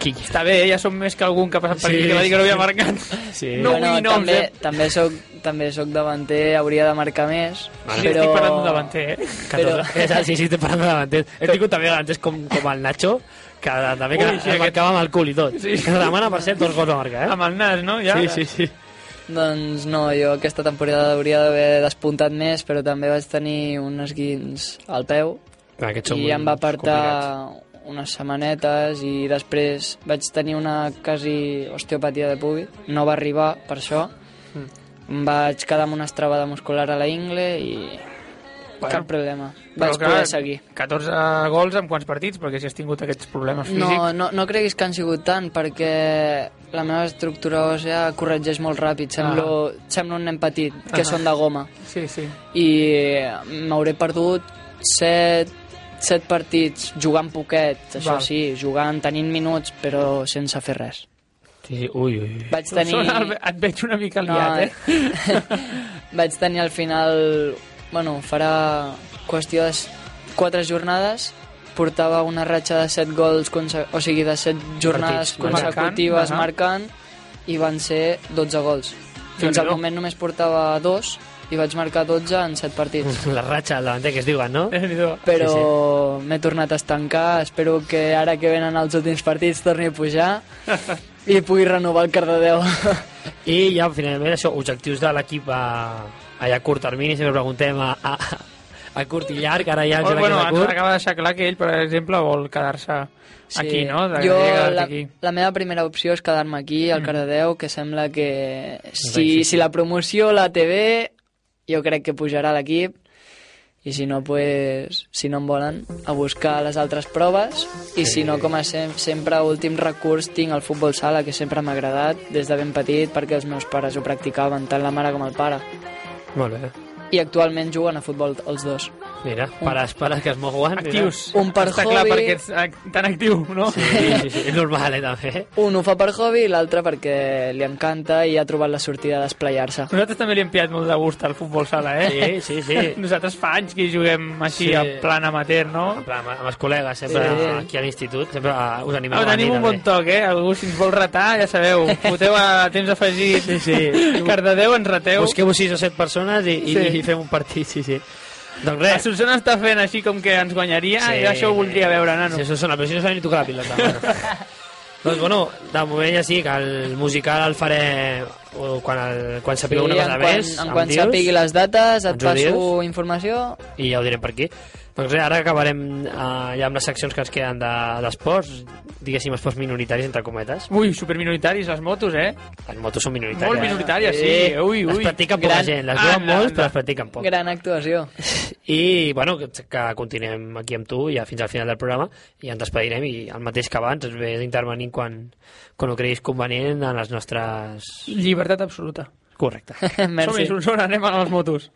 Speaker 3: Qui?
Speaker 4: Està bé, eh? ja som més que algun que ha passat per aquí
Speaker 3: Sí.
Speaker 4: que va dir que no havia marcat.
Speaker 3: Sí.
Speaker 4: No
Speaker 6: bueno,
Speaker 4: vull noms,
Speaker 6: també,
Speaker 4: eh?
Speaker 6: també, soc, també soc davanter, hauria de marcar més,
Speaker 3: Vale.
Speaker 4: Sí,
Speaker 6: però...
Speaker 4: Estic parlant d'un davanter, eh?
Speaker 3: 14. Però... Sí, sí, estic parlant de davanters. He tingut també davanters com, com el Nacho, que també que
Speaker 4: Ui, sí,
Speaker 3: el
Speaker 4: aquest-
Speaker 3: marcava amb el cul i tot.
Speaker 4: Sí.
Speaker 3: Sí. Que la demana, per cert, dos gols no marca, eh?
Speaker 4: Amb el nas, no? Ja.
Speaker 3: Sí, sí, sí.
Speaker 6: Doncs no, jo aquesta temporada hauria d'haver despuntat més, però també vaig tenir un esguins al peu
Speaker 3: Clar, aquests són
Speaker 6: i em va apartar
Speaker 3: complicats.
Speaker 6: unes setmanetes i després vaig tenir una quasi osteopatia de pubi. No va arribar, per això.
Speaker 4: Hmm.
Speaker 6: Em vaig quedar amb una estrabada muscular a la ingle i...
Speaker 4: Bueno,
Speaker 6: Cap problema.
Speaker 4: Però,
Speaker 6: Vaig poder seguir.
Speaker 4: 14 gols en quants partits? Perquè si has tingut aquests problemes
Speaker 6: No,
Speaker 4: físics...
Speaker 6: no, no creguis que han sigut tant, perquè la meva estructura òssea corregeix molt ràpid. Semblo, semblo un nen petit, que
Speaker 4: Ah.
Speaker 6: són de goma.
Speaker 4: Sí, sí.
Speaker 6: I m'hauré perdut set, set partits jugant poquet, això
Speaker 4: Val.
Speaker 6: sí, jugant, tenint minuts, però sense fer res.
Speaker 3: Sí, sí. Ui, ui, ui.
Speaker 6: Vaig
Speaker 4: Tenir...
Speaker 6: tenir...
Speaker 4: et veig una mica
Speaker 6: No,
Speaker 4: liat, eh?
Speaker 6: vaig tenir al final... Bueno, farà qüestió de s- quatre jornades portava una ratxa de set gols, conse- o sigui, de set jornades
Speaker 3: Partits, marcant,
Speaker 6: consecutives
Speaker 4: ahà.
Speaker 6: marcant, i van ser 12 gols. Fins al
Speaker 4: Déu-n'hi-do.
Speaker 6: moment només portava dos i vaig marcar 12 en set partits.
Speaker 3: La ratxa al davanter que es diuen, no?
Speaker 4: Déu-n'hi-do.
Speaker 6: Però m'he tornat a estancar, espero que ara que venen els últims partits torni a pujar i pugui renovar el Cardedeu.
Speaker 3: I ja, finalment, això, objectius de l'equip a, a ja curt termini, sempre preguntem a, a, a curt i llarg, ara ja
Speaker 4: Oh,
Speaker 3: ens
Speaker 4: bueno,
Speaker 3: bueno, a
Speaker 4: ens
Speaker 3: curt.
Speaker 4: acaba de deixar clar que ell, per exemple, vol quedar-se
Speaker 6: Sí.
Speaker 4: aquí, no? De,
Speaker 6: jo,
Speaker 4: de quedar-te
Speaker 6: la,
Speaker 4: aquí. Mm.
Speaker 6: la meva primera opció és quedar-me aquí, al Cardedeu, que sembla que
Speaker 4: Doncs
Speaker 6: si,
Speaker 3: difícil.
Speaker 6: si la promoció, la TV, jo crec que pujarà l'equip, i si no, pues, si no em volen, a buscar les altres proves, i si no, com a sem sempre, a últim recurs, tinc el futbol sala, que sempre m'ha agradat, des de ben petit, perquè els meus pares ho practicaven, tant la mare com el pare.
Speaker 3: Molt bé.
Speaker 6: I actualment juguen a futbol els dos.
Speaker 3: Mira, pares, pares que es mouen. mira.
Speaker 4: Actius.
Speaker 6: Un per
Speaker 4: Està clar
Speaker 6: hobby.
Speaker 4: perquè ets ac- tan actiu, no?
Speaker 3: Sí, sí, sí, és normal, eh, també.
Speaker 6: Un ho fa per hobby i l'altre perquè li encanta i ha trobat la sortida a desplayar-se.
Speaker 4: Nosaltres també li hem pillat molt de gust al futbol sala, eh?
Speaker 3: Sí, sí, sí.
Speaker 4: Nosaltres fa anys que hi juguem així
Speaker 3: Sí.
Speaker 4: a plan amateur, no?
Speaker 3: En plan, amb els col·legues, sempre
Speaker 6: Sí.
Speaker 3: aquí a l'institut, sempre ah, us animem
Speaker 4: Ah,
Speaker 3: a
Speaker 4: tenim
Speaker 3: venir,
Speaker 4: un bon
Speaker 3: també.
Speaker 4: toc, eh? Algú, si ens vol retar, ja sabeu, foteu a temps afegit.
Speaker 3: Sí, sí.
Speaker 4: Cardedeu, ens reteu.
Speaker 3: Busqueu-vos 6 o 7 persones i, i,
Speaker 4: Sí.
Speaker 3: i fem un partit, sí, sí. Doncs
Speaker 4: La
Speaker 3: res.
Speaker 4: Solsona està fent així com que ens guanyaria i Ah, això ho voldria veure, nano.
Speaker 3: Sí, això sona, però si no sabem ni tocar la pilota. Bueno. doncs, bueno, de moment ja sí, que el musical el faré o quan, el, quan sàpiga una cosa
Speaker 6: en quan,
Speaker 3: més.
Speaker 6: en
Speaker 3: em
Speaker 6: quan
Speaker 3: dius,
Speaker 6: sàpigui les
Speaker 3: Ens
Speaker 6: dates, et
Speaker 3: ho
Speaker 6: passo
Speaker 3: dius?
Speaker 6: informació.
Speaker 3: I ja ho direm per aquí. Doncs res, ara acabarem eh, ja amb les seccions que ens queden de- d'esports, diguéssim, esports minoritaris, entre cometes.
Speaker 4: Ui, superminoritaris, les motos, eh?
Speaker 3: Les motos són minoritàries.
Speaker 4: Molt minoritàries, sí. Ui,
Speaker 3: Les
Speaker 4: ui.
Speaker 3: practiquen poca
Speaker 6: Gran-
Speaker 3: gent, les
Speaker 4: Ah,
Speaker 3: veuen
Speaker 4: no,
Speaker 3: molts,
Speaker 4: no.
Speaker 3: però les practiquen poc.
Speaker 6: Gran actuació.
Speaker 3: I, bueno, que, que continuem aquí amb tu ja fins al final del programa i ens despedirem i el mateix que abans ens ve d'intervenir quan, quan ho creguis convenient en les nostres...
Speaker 4: Llibertat absoluta.
Speaker 3: Correcte.
Speaker 4: Som-hi,
Speaker 6: Merci.
Speaker 4: Solsona, anem a les motos.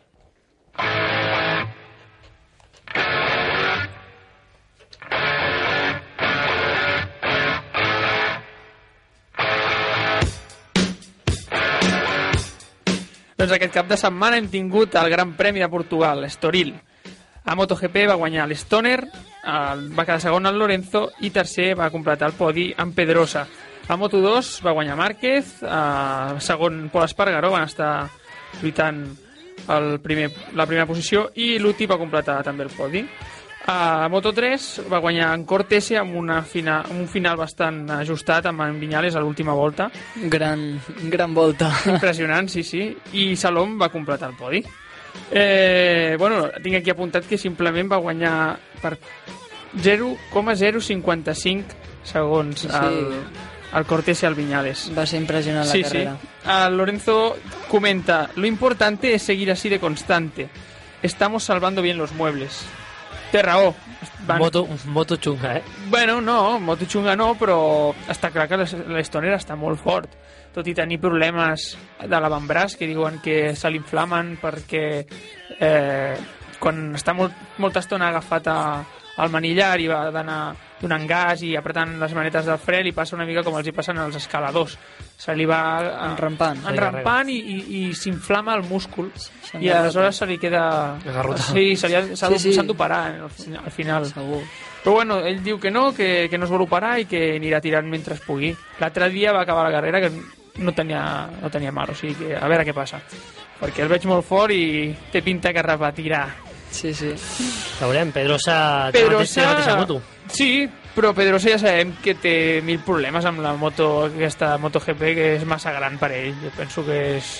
Speaker 4: Doncs aquest cap de setmana hem tingut el Gran Premi de Portugal, Estoril. A MotoGP va guanyar l'Stoner, el- va quedar segon el Lorenzo i tercer va completar el podi amb Pedrosa. A Moto2 va guanyar Márquez, a segon Pol Espargaró van estar lluitant el primer, la primera posició i l'Uti va completar també el podi. A Moto3 va guanyar en Cortese amb, una fina, amb un final bastant ajustat amb en Viñales a l'última volta.
Speaker 6: Gran, gran volta.
Speaker 4: Impressionant, sí, sí. I Salom va completar el podi. Eh, bueno, tinc aquí apuntat que simplement va guanyar per 0,055 segons
Speaker 6: Sí.
Speaker 4: el, el Cortés i el Viñales.
Speaker 6: Va ser impressionant la
Speaker 4: Sí, sí.
Speaker 6: carrera.
Speaker 4: El Lorenzo comenta, lo importante es seguir así de constante. Estamos salvando bien los muebles. Té raó. Van-
Speaker 3: moto, moto xunga, eh?
Speaker 4: Bueno, no, Motochunga no, però està clar que l'es- l'Stoner està molt fort. Tot i tenir problemes de l'avantbraç, que diuen que se l'inflamen perquè eh, quan està molt, molta estona agafat a, al manillar i va d'anar donant gas i apretant les manetes del fre, li passa una mica com els hi passen als escaladors. Se li va... eh,
Speaker 6: Enrampant.
Speaker 4: Enrampant i, i, i s'inflama el múscul. I
Speaker 6: engarrota.
Speaker 4: aleshores se li queda...
Speaker 3: Engarrota.
Speaker 4: Sí, se li ha- s'ha
Speaker 6: Sí,
Speaker 4: de-
Speaker 6: sí.
Speaker 4: s'han d'operar eh, al fi- al final.
Speaker 6: Segur.
Speaker 4: Però bueno, ell diu que no, que, que no es vol operar i que anirà tirant mentre es pugui. L'altre dia va acabar la carrera que no tenia, no tenia mal, o sigui que a veure què passa. Perquè el veig molt fort i té pinta que repetirà.
Speaker 6: Sí, sí.
Speaker 3: Veurem, Pedrosa... té la mateixa- té la mateixa moto.
Speaker 4: Sí, però Pedrosa ja sabem que té mil problemes amb la moto aquesta MotoGP que és massa gran per ell. Jo penso que és...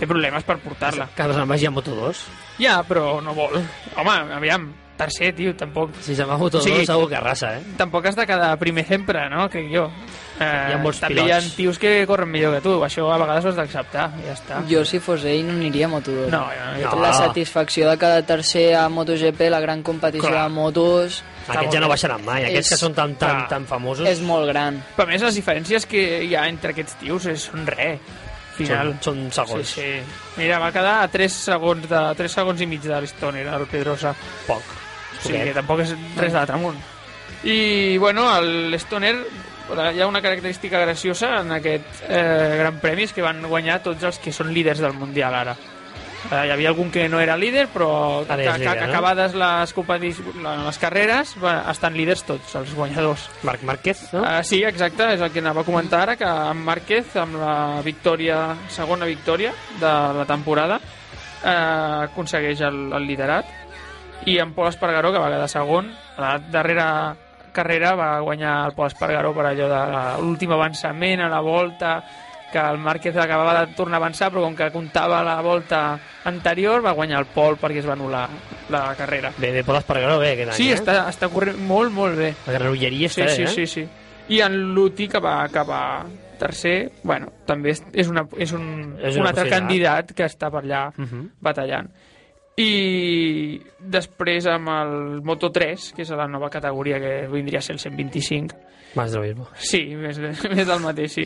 Speaker 4: té problemes per portar-la.
Speaker 3: Carles en Mas hi ha moto 2.
Speaker 4: Ja, però no vol. Home, aviam, tercer, tio, tampoc...
Speaker 3: Si se'n va moto 2,
Speaker 4: Sí.
Speaker 3: segur que arrasa, eh?
Speaker 4: tampoc has de quedar primer sempre, no? Crec jo. Eh,
Speaker 3: Hi ha molts
Speaker 4: també
Speaker 3: pilots.
Speaker 4: hi ha tios que corren millor que tu. Això a vegades ho has d'acceptar, ja està.
Speaker 6: Jo, si fos ell, no aniria a Moto2.
Speaker 4: No, jo, jo,
Speaker 3: No.
Speaker 6: La satisfacció de cada tercer a MotoGP, la gran competició
Speaker 4: Clar.
Speaker 6: de motos,
Speaker 3: Aquests ja no baixaran mai, aquests que
Speaker 6: És-
Speaker 3: són tan, tan,
Speaker 4: clar.
Speaker 3: tan famosos
Speaker 6: és molt gran.
Speaker 4: Però a més, les diferències que hi ha entre aquests tios és, són res. Al Final.
Speaker 3: són, són segons,
Speaker 4: Sí, sí. Mira, va quedar a 3 segons, de, 3 segons i mig de l'Stoner, el Pedrosa.
Speaker 3: poc.
Speaker 4: O sigui que tampoc és res de l'altre món. I, bueno, l'Stoner hi ha una característica graciosa en aquest eh, Gran Premi és que van guanyar tots els que són líders del Mundial ara. Eh, hi havia algun que no era líder, però
Speaker 3: Ara
Speaker 4: que,
Speaker 3: és
Speaker 4: que,
Speaker 3: líder,
Speaker 4: que
Speaker 3: no?
Speaker 4: acabades les, competi- la- les carreres va, estan líders tots, els guanyadors.
Speaker 3: Marc Márquez, no?
Speaker 4: Ah, sí, exacte, és el que anava a comentar ara, que en Márquez, amb la victòria, segona victòria de la temporada, eh, aconsegueix el, el liderat. I en Pol Espargaró, que va quedar segon, a la darrera carrera va guanyar el Pol Espargaró per allò de la- l'últim avançament a la volta, que el Márquez acabava de tornar a avançar, però com que comptava la volta anterior, va guanyar el Pol perquè es va anul·lar la carrera.
Speaker 3: Bé, bé, Pol Espargaró, bé, aquest any,
Speaker 4: Sí,
Speaker 3: eh?
Speaker 4: està, està corrent molt, molt bé.
Speaker 3: La granolleria
Speaker 4: Sí,
Speaker 3: està
Speaker 4: sí,
Speaker 3: bé, eh?
Speaker 4: sí, sí. I en Luti, que va acabar tercer, bueno, també és- és, una, és un,
Speaker 3: És
Speaker 4: és
Speaker 3: una
Speaker 4: un altre
Speaker 3: possibilitat.
Speaker 4: candidat que està per allà
Speaker 3: Mhm.
Speaker 4: batallant. I després amb el Moto3, que és la nova categoria que vindria a ser el 125,
Speaker 3: Más de lo mismo.
Speaker 4: Sí, més, de- més del mateix, sí.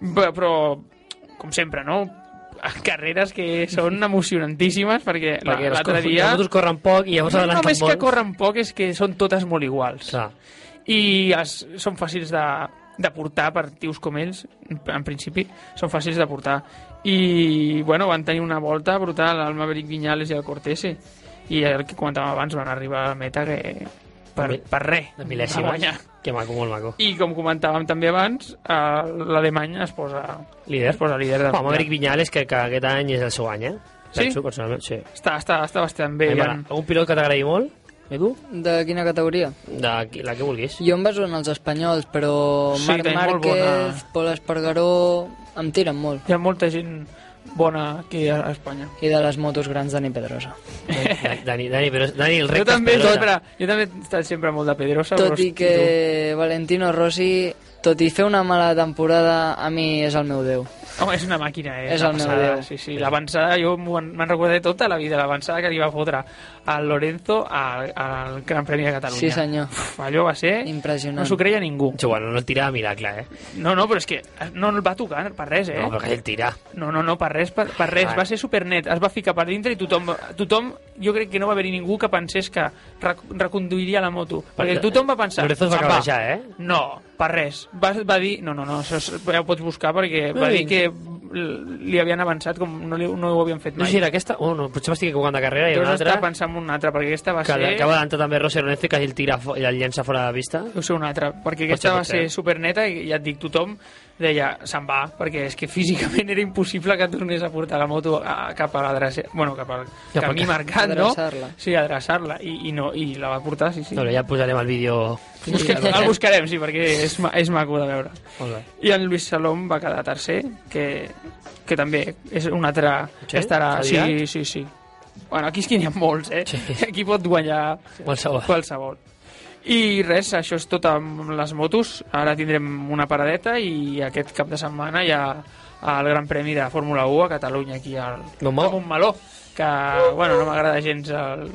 Speaker 4: Però, però, com sempre, no? Carreres que són emocionantíssimes perquè la-
Speaker 3: Perquè les
Speaker 4: l'altre
Speaker 3: cor-
Speaker 4: dia...
Speaker 3: les motos corren poc i llavors
Speaker 4: No
Speaker 3: adelanten
Speaker 4: només que
Speaker 3: molt.
Speaker 4: corren poc, és que són totes molt iguals.
Speaker 3: Clar.
Speaker 4: I es, són fàcils de, de portar per tios com ells, en- en principi, són fàcils de portar. I, bueno, van tenir una volta brutal, el Maverick Viñales i el Cortese. I el que comentàvem abans, van arribar a la meta que... Per, per res.
Speaker 3: De
Speaker 4: Va
Speaker 3: mil·lèsimes.
Speaker 4: guanyar.
Speaker 3: Que maco, molt maco.
Speaker 4: I com comentàvem també abans, eh, l'Alemany es posa
Speaker 3: Líder.
Speaker 4: Es posa líder de
Speaker 3: Home, Maverick Viñales, que, que aquest any és el seu any, eh?
Speaker 4: Sí?
Speaker 3: Penso, personalment, sí.
Speaker 4: Està, està, està
Speaker 3: A
Speaker 4: bastant bé.
Speaker 3: mi
Speaker 4: Ja.
Speaker 3: m'agrada. Algun pilot que t'agradi molt? I tu?
Speaker 6: De quina categoria?
Speaker 3: De qui- la que vulguis.
Speaker 6: Jo em baso en els espanyols, però
Speaker 4: Sí,
Speaker 6: Marc
Speaker 4: tenim molt
Speaker 6: Márquez,
Speaker 4: bona-
Speaker 6: Pol Espargaró... Em tiren molt.
Speaker 4: Hi ha molta gent bona aquí a Espanya.
Speaker 6: I de les motos grans, Dani Pedrosa.
Speaker 3: Dani, Dani, Dani, però Dani, el
Speaker 4: Jo
Speaker 3: recte
Speaker 4: també,
Speaker 3: és pedrosa.
Speaker 4: sempre, jo també he estat sempre molt de Pedrosa.
Speaker 6: Tot
Speaker 4: però,
Speaker 6: i que Valentino Rossi, tot i fer una mala temporada, a mi és el meu déu.
Speaker 4: Home, és una màquina, eh?
Speaker 6: És
Speaker 4: una
Speaker 6: el meu
Speaker 4: passada,
Speaker 6: Déu.
Speaker 4: Sí, sí, l'avançada, jo m'ho- me'n recordaré tota la vida, l'avançada que li va fotre al Lorenzo al, al Gran Premi de Catalunya.
Speaker 6: Sí, senyor.
Speaker 4: Uf, allò va ser...
Speaker 6: Impressionant.
Speaker 4: No s'ho creia ningú.
Speaker 3: Sí, bueno, no el tira a miracle, eh?
Speaker 4: No, no, però és que eh, no el va tocar per res, eh?
Speaker 3: No, però que ell tira.
Speaker 4: No, no, no, per res, per, per res. Va ser supernet, es va ficar per dintre i tothom, tothom jo crec que no va haver-hi ningú que pensés que rec reconduiria la moto. Perquè tothom va pensar...
Speaker 3: Lorenzo es va
Speaker 4: "Se'n
Speaker 3: acabar ja, eh?"
Speaker 4: No, per res. Va, va dir... No, no, no, això és, ja ho pots buscar perquè va
Speaker 3: Ui.
Speaker 4: dir que l- li havien avançat com no, li, no ho havien fet
Speaker 3: No
Speaker 4: mai.
Speaker 3: sé si era aquesta... Oh, no, potser m'estic equivocant de carrera i
Speaker 4: Deus
Speaker 3: una altra
Speaker 4: estar pensant en una altra, perquè aquesta va
Speaker 3: que
Speaker 4: ser...
Speaker 3: acaba d'adelantar també Rossi Lorenzo i que el tira fo- i el llença fora de vista.
Speaker 4: Deu ser una altra, perquè
Speaker 3: Pot ser,
Speaker 4: aquesta va
Speaker 3: pot ser.
Speaker 4: ser superneta i ja et dic, tothom deia, se'n va, perquè és que físicament era impossible que tornés a portar la moto a, cap a l'adreça, bueno, cap al
Speaker 3: Cap al
Speaker 4: camí
Speaker 3: ca-
Speaker 4: marcat, no?
Speaker 6: Adreçar-la.
Speaker 4: Sí, adreçar-la, I, i, no, i la va portar, sí, sí.
Speaker 3: No, ja posarem el vídeo...
Speaker 4: Busquem, el buscarem, sí, perquè és, ma- és maco de veure.
Speaker 3: Molt bé.
Speaker 4: I en Lluís Salom va quedar tercer, que, que també és un altre...
Speaker 3: Sí?
Speaker 4: que Estarà, sí,
Speaker 3: Aviat?
Speaker 4: sí, sí. Bueno, aquí és que n'hi ha molts, eh? Aquí pot guanyar
Speaker 3: Qualsevol.
Speaker 4: qualsevol. I res, això és tot amb les motos. Ara tindrem una paradeta i aquest cap de setmana hi ha el Gran Premi de Fórmula 1 a Catalunya, aquí al
Speaker 3: Montmeló.
Speaker 4: a Montmeló, que, bueno, no m'agrada gens el,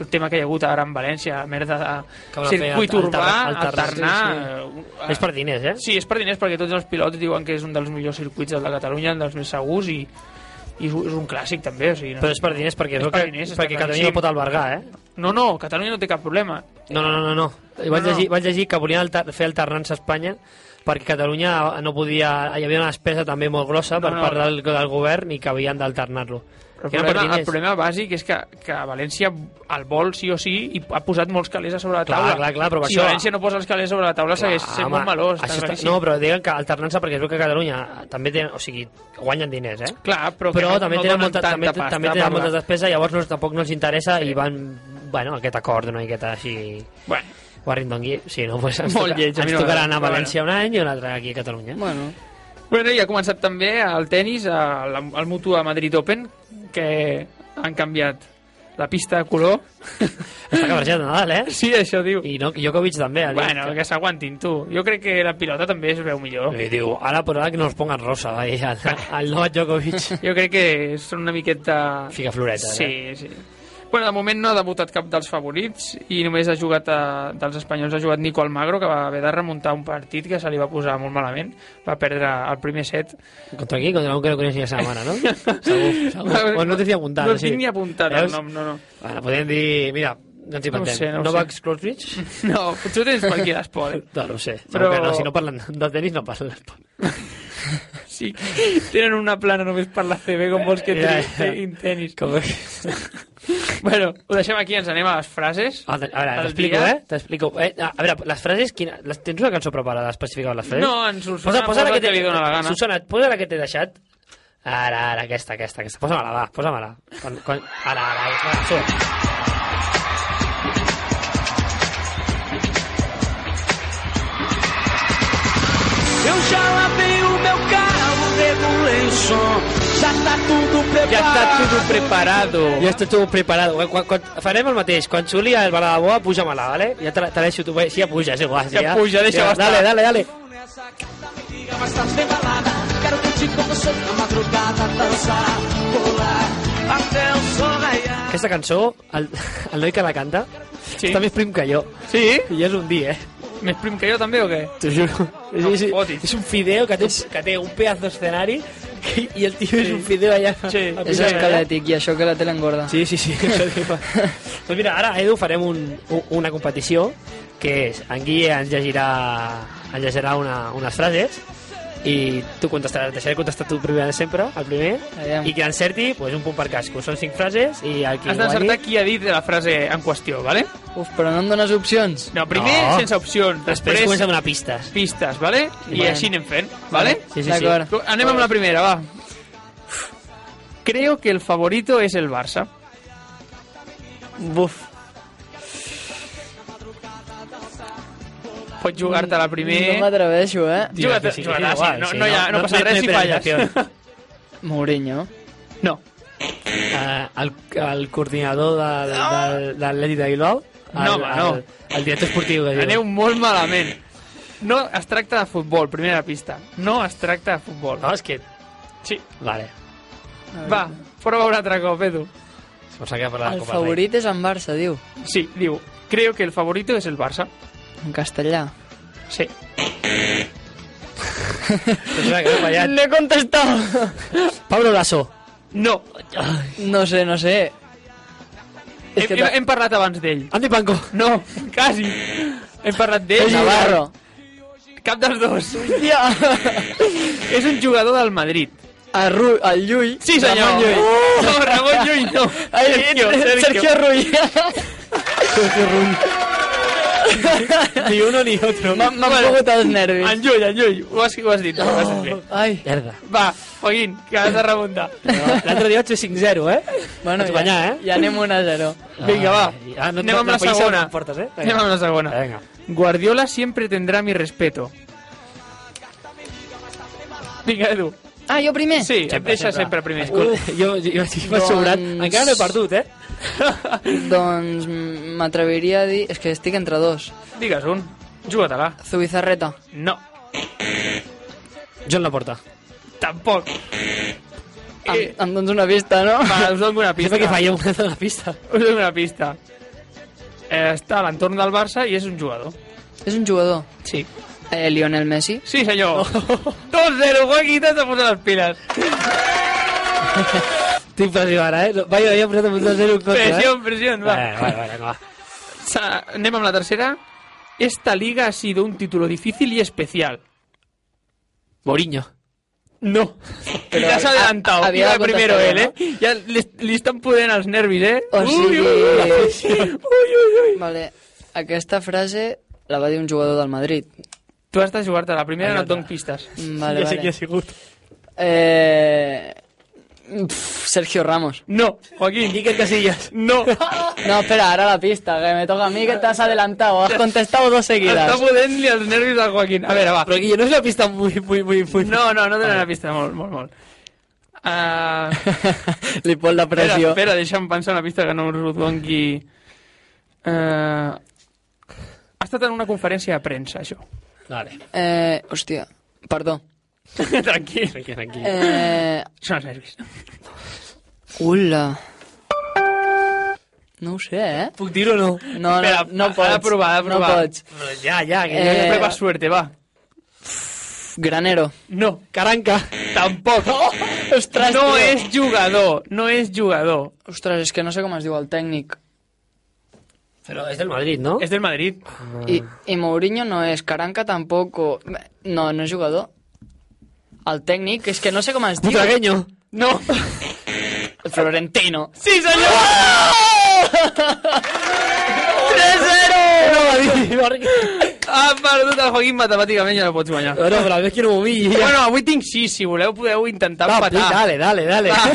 Speaker 4: el tema que hi ha hagut ara en València, merda
Speaker 3: Que
Speaker 4: de
Speaker 3: van fer
Speaker 4: circuit
Speaker 3: alter-
Speaker 4: urbà,
Speaker 3: alter-
Speaker 4: alternar... eh,
Speaker 3: És per diners, eh?
Speaker 4: Sí, és per diners, perquè tots els pilots diuen que és un dels millors circuits de la Catalunya, un dels més segurs, i, i és un clàssic també. O sigui, no?
Speaker 3: Però és per diners perquè,
Speaker 4: És
Speaker 3: és
Speaker 4: per
Speaker 3: que,
Speaker 4: diners, està
Speaker 3: perquè Catalunya
Speaker 4: claríssim.
Speaker 3: no pot albergar, eh?
Speaker 4: No, no, Catalunya no té cap problema.
Speaker 3: No, no, no, no. no. I Vaig,
Speaker 4: No, no.
Speaker 3: llegir, vaig llegir que volien alter, fer alternança a Espanya perquè Catalunya no podia... Hi havia una despesa també molt grossa per
Speaker 4: No, no.
Speaker 3: part del, del govern i que havien d'alternar-lo.
Speaker 4: Però
Speaker 3: Que
Speaker 4: El
Speaker 3: era per
Speaker 4: problema, el
Speaker 3: diners.
Speaker 4: problema bàsic és que, que a València el vol sí o sí i ha posat molts calés a sobre la
Speaker 3: Clar,
Speaker 4: taula.
Speaker 3: clar, clar, però per
Speaker 4: si
Speaker 3: això-
Speaker 4: València no posa els calés sobre la taula segueix
Speaker 3: Clar,
Speaker 4: sent
Speaker 3: Ah, home,
Speaker 4: molt meló. Està
Speaker 3: això
Speaker 4: claríssim.
Speaker 3: no, però diguen que alternança perquè es veu que Catalunya també tenen, o sigui, guanyen diners, eh?
Speaker 4: Clar, però, que
Speaker 3: però
Speaker 4: no,
Speaker 3: també
Speaker 4: no
Speaker 3: tenen
Speaker 4: donen
Speaker 3: molta,
Speaker 4: tanta
Speaker 3: també,
Speaker 4: pasta
Speaker 3: també
Speaker 4: per
Speaker 3: tenen
Speaker 4: la-
Speaker 3: molta despesa, llavors no, tampoc no els interessa i van, bueno, aquest acord una miqueta així...
Speaker 4: Bueno,
Speaker 3: Warrington Gui, sí, no, pues ens,
Speaker 4: Molt
Speaker 3: toca,
Speaker 4: lleig, a mi
Speaker 3: ens
Speaker 4: no
Speaker 3: tocarà
Speaker 4: m'agrada,
Speaker 3: anar a
Speaker 4: però
Speaker 3: València un any i un altre aquí a Catalunya.
Speaker 6: Bueno,
Speaker 4: Bueno, i ha començat també el tennis al, al Mutua Madrid Open, que han canviat la pista de color.
Speaker 3: Està cabrejat Nadal, eh?
Speaker 4: sí, això diu.
Speaker 3: I no, Jokovic també. ha dit
Speaker 4: bueno,
Speaker 3: que...
Speaker 4: que s'aguantin, tu. Jo crec que la pilota també es veu millor.
Speaker 3: I diu, ara per ara que no els pongan rosa, va dir al, al Novak Djokovic.
Speaker 4: Jo crec que són una miqueta...
Speaker 3: Fica floreta, eh?
Speaker 4: Sí, sí. Bueno, de moment no ha debutat cap dels favorits i només ha jugat a, dels espanyols ha jugat Nico Almagro, que va haver de remuntar un partit que se li va posar molt malament. Va perdre el primer set.
Speaker 3: Contra qui? Contra un que no coneix ni la seva mare, no? segur, segur. Bueno, no t'hi he apuntat. o
Speaker 4: No sí.
Speaker 3: sigui.
Speaker 4: tinc ni apuntat el
Speaker 3: Veus?
Speaker 4: nom, no, no.
Speaker 3: Bueno, podem dir... Mira, no ens hi
Speaker 4: No ho
Speaker 3: pentem.
Speaker 4: sé, no ho
Speaker 3: Novak
Speaker 4: sé.
Speaker 3: Djokovic?
Speaker 4: No, potser ho tens eh? per aquí a l'esport.
Speaker 3: No, no ho sé. Però...
Speaker 4: Però-
Speaker 3: Que no, si no parlen de tenis, no parlen d'esport.
Speaker 4: Sí, tenen una plana només per la CB, com vols que
Speaker 3: Ja,
Speaker 4: yeah,
Speaker 3: ja.
Speaker 4: yeah. tenis.
Speaker 3: Com... que-
Speaker 4: Bueno, ho deixem aquí, ens anem a les frases.
Speaker 3: Ah, A veure,
Speaker 4: del
Speaker 3: t'explico,
Speaker 4: dia.
Speaker 3: eh? T'explico. Eh, a veure, les frases... Quina... Les... Tens una cançó preparada específica de les frases?
Speaker 4: No, en Susana posa, posa
Speaker 3: la
Speaker 4: el que,
Speaker 3: t'he-
Speaker 4: li dóna la gana.
Speaker 3: Susana, posa la que t'he deixat. Ara, ara, aquesta, aquesta, aquesta. Posa-me-la, va, posa-me-la. Quan, quan... Ara, ara, ara, surt.
Speaker 4: Eu já lavei o meu carro, um dei Ja està tot preparado.
Speaker 3: Jo estic tot preparat. Quan, quan, farem el mateix. Quan xuli el balada boa, puja-me-la, vale? Ja te, la- te la deixo tu. Bé, Sí, ja puja, és igual.
Speaker 4: Ja puja, deixa-ho estar.
Speaker 3: Dale, dale, dale. Aquesta cançó, el, el noi que la canta,
Speaker 4: Sí.
Speaker 3: està més prim que jo.
Speaker 4: Sí?
Speaker 3: I és un dia, eh?
Speaker 4: Més prim que jo també o què?
Speaker 3: T'ho juro.
Speaker 4: No
Speaker 3: és,
Speaker 4: fotis.
Speaker 3: és, un fideo que té, un- que té un pedazo d'escenari que- i el tio és un fideo allà.
Speaker 4: Sí.
Speaker 3: a
Speaker 6: És
Speaker 3: pujar allà.
Speaker 6: esquelètic i això que la tele engorda.
Speaker 3: Sí, sí, sí. això diu. doncs mira, ara, Edu, farem un, u- una competició que és, en Guille ens llegirà, ens llegirà una, unes frases i tu contestaràs, deixaré contestar tu primer sempre, el primer,
Speaker 6: Aviam.
Speaker 3: i qui encerti, pues, un punt per casco. Són cinc frases i el qui
Speaker 4: Has d'encertar
Speaker 3: guanyi-
Speaker 4: qui ha dit la frase en qüestió, vale?
Speaker 6: Uf, però no em dones opcions.
Speaker 4: No, primer
Speaker 3: No.
Speaker 4: sense opcions,
Speaker 3: Després
Speaker 4: després,
Speaker 3: comença amb una pista.
Speaker 4: pistes, vale? I
Speaker 6: Bueno.
Speaker 4: així anem fent, vale? Pues
Speaker 3: Sí, sí, sí.
Speaker 6: D'acord.
Speaker 4: Anem amb la primera, va. Creo que el favorito es el Barça.
Speaker 6: Buf.
Speaker 4: Pots jugar-te la
Speaker 6: No
Speaker 4: primera...
Speaker 6: m'atreveixo, eh?
Speaker 3: Tio,
Speaker 4: Juga-te-
Speaker 3: sí, sí,
Speaker 4: juga-te,
Speaker 3: sí,
Speaker 4: sí,
Speaker 3: igual,
Speaker 4: no-
Speaker 3: sí,
Speaker 4: no hi ha- no passa res
Speaker 3: hi
Speaker 4: si
Speaker 3: perdem
Speaker 4: falles.
Speaker 3: opcions.
Speaker 6: Mourinho.
Speaker 4: No.
Speaker 3: Eh, el, el coordinador del, del, de l'Atlètic de Bilbao, el,
Speaker 4: No, home, no.
Speaker 3: el, el director esportiu. que diu.
Speaker 4: Aneu molt malament. No es tracta de futbol, primera pista. No es tracta de futbol.
Speaker 3: No, és que...
Speaker 4: Ah, Sí.
Speaker 3: Vale.
Speaker 4: Va, prova un altre cop, Edu.
Speaker 3: Se'm s'ha quedat per la
Speaker 6: El
Speaker 3: Copa del Rei.
Speaker 6: favorit és en Barça, diu.
Speaker 4: Sí, diu, creo que el favorito es el Barça.
Speaker 6: En castellà.
Speaker 4: Sí.
Speaker 3: Em sembla que m'he fallat.
Speaker 6: he contestat!
Speaker 3: Pablo Lasso.
Speaker 4: No,
Speaker 6: No sé, no sé.
Speaker 4: hem,
Speaker 6: És que
Speaker 4: hem,
Speaker 6: ta-
Speaker 4: hem parlat abans d'ell.
Speaker 3: Andy Panko.
Speaker 4: Ah. No, quasi. Hem parlat d'ell.
Speaker 6: Navarro.
Speaker 4: Cap dels dos.
Speaker 6: Hòstia!
Speaker 4: És un jugador del Madrid.
Speaker 6: El, Ru el Llull.
Speaker 4: Sí, senyor. Oh!
Speaker 6: Ramon Llull.
Speaker 4: No, Ramon Llull no.
Speaker 6: Ai, Sergio, Sergio Ruiz.
Speaker 3: Ni uno ni otro.
Speaker 6: M'han m'han pogut els nervis.
Speaker 4: En Llull, en Llull. Ho has, ho has dit. Ho has dit bé.
Speaker 6: Ai,
Speaker 3: Merda.
Speaker 4: Va, Joaquín, que has de remuntar.
Speaker 3: L'altre dia vaig fer 5-0, eh?
Speaker 6: bueno,
Speaker 3: Vaig guanyar,
Speaker 6: ja,
Speaker 3: eh?
Speaker 6: ja anem 1 a 0.
Speaker 4: Vinga, va.
Speaker 3: Ai, ah, no,
Speaker 4: Anem amb
Speaker 3: no,
Speaker 4: la
Speaker 3: païssa,
Speaker 4: segona.
Speaker 3: no portes, eh? Vinga.
Speaker 4: Anem amb la segona.
Speaker 3: Vinga.
Speaker 4: Guardiola siempre tendrá mi respeto. Vinga, Edu.
Speaker 6: Ah, jo primer?
Speaker 4: Sí, sempre, et deixa sempre, primer.
Speaker 3: Escolta, jo, jo, jo estic doncs... sobrat.
Speaker 6: Doncs-
Speaker 3: Encara no he perdut, eh?
Speaker 6: Doncs mm, m'atreviria a dir... És que estic entre dos.
Speaker 4: Digues un. Juga-te-la.
Speaker 6: Zubizarreta.
Speaker 4: No,
Speaker 3: Jo en la porta.
Speaker 4: tampoc.
Speaker 6: Em,
Speaker 4: Eh,
Speaker 6: em dones una vista, no?
Speaker 4: va, us dono una pista.
Speaker 3: Sempre que falla una de la pista.
Speaker 4: Us dono una pista. Eh, està a l'entorn del Barça i és un jugador.
Speaker 6: És un jugador.
Speaker 4: Sí.
Speaker 6: Eh, Lionel Messi.
Speaker 4: Sí,
Speaker 3: Oh.
Speaker 4: senyor. 2-0, Joaquín, t'has de posar les piles.
Speaker 3: Estic pressió ara, eh? No, Vaja, jo he posat un 2-0 en contra, eh?
Speaker 4: Presión, presión, va.
Speaker 3: Vale, vale, vale, va.
Speaker 4: Sa- Anem amb la tercera. Esta liga ha sido un título difícil y especial.
Speaker 3: Mourinho.
Speaker 4: No. Pero ya se ha adelantado.
Speaker 6: a- había
Speaker 4: Iba
Speaker 6: dado
Speaker 4: primero él, ¿eh?
Speaker 6: contestado,
Speaker 4: Ya le, le están pudiendo los nervios, ¿eh?
Speaker 6: O sigui...
Speaker 4: uy, uy, uy.
Speaker 6: Vale, aquesta frase la va dir un jugador del Madrid.
Speaker 4: Tu has de jugar-te la primera, no et dono pistes.
Speaker 6: Mm, Vale,
Speaker 3: ja sé qui
Speaker 6: vale.
Speaker 3: ha sigut.
Speaker 6: Eh... Pff, Sergio Ramos.
Speaker 4: No, Joaquín.
Speaker 3: Iker Casillas.
Speaker 4: No.
Speaker 6: No, espera, ahora la pista, que me toca a mí que te has adelantado. Has contestado dos
Speaker 4: Està
Speaker 6: seguidas.
Speaker 4: podent-li els nervis al Joaquín. A veure, va.
Speaker 3: Però Guille, no és una pista muy, muy, muy... muy...
Speaker 4: No, no, no dono la pista. Molt, molt, molt. Uh,
Speaker 6: Li pon la
Speaker 4: espera,
Speaker 6: pressió.
Speaker 4: espera, deixa'm pensar una pista que no us doni... Uh, ha estat en una conferència de premsa, això.
Speaker 3: Vale.
Speaker 6: Eh, hòstia, perdó.
Speaker 4: Tranquil.
Speaker 3: Tranquil, tranquil.
Speaker 6: Eh...
Speaker 4: Són els nervis.
Speaker 6: Ula. No ho sé, eh?
Speaker 3: Puc dir-ho o no?
Speaker 6: No, no,
Speaker 4: Espera,
Speaker 6: no
Speaker 4: ha de
Speaker 6: pots.
Speaker 4: provar, ha de
Speaker 6: no
Speaker 4: provar.
Speaker 6: pots.
Speaker 3: Ja, ja, que
Speaker 6: Eh,
Speaker 3: eh...
Speaker 4: Prueba suerte, va.
Speaker 6: Pff, Granero.
Speaker 4: No,
Speaker 3: Caranca.
Speaker 4: tampoc.
Speaker 6: Ostres,
Speaker 4: No
Speaker 6: tio.
Speaker 4: és jugador, no és jugador.
Speaker 6: Ostres, és que no sé com es diu el tècnic.
Speaker 3: Però és del Madrid, no?
Speaker 4: És del Madrid.
Speaker 6: I, I Mourinho no és, Caranca tampoc, o... No, no és jugador. El tècnic, és que no sé com es diu.
Speaker 3: Butragueño.
Speaker 4: No.
Speaker 6: Florentino.
Speaker 4: Sí, senyor! 3-0!
Speaker 3: No, va dir, perquè...
Speaker 4: Ha perdut el Joaquín matemàticament, ja no pots guanyar.
Speaker 3: No, però a més que no m'humilli. Ja.
Speaker 4: Bueno, avui tinc 6, si voleu podeu intentar
Speaker 3: Va, pues,
Speaker 4: empatar.
Speaker 3: dale, dale, dale.
Speaker 4: Va.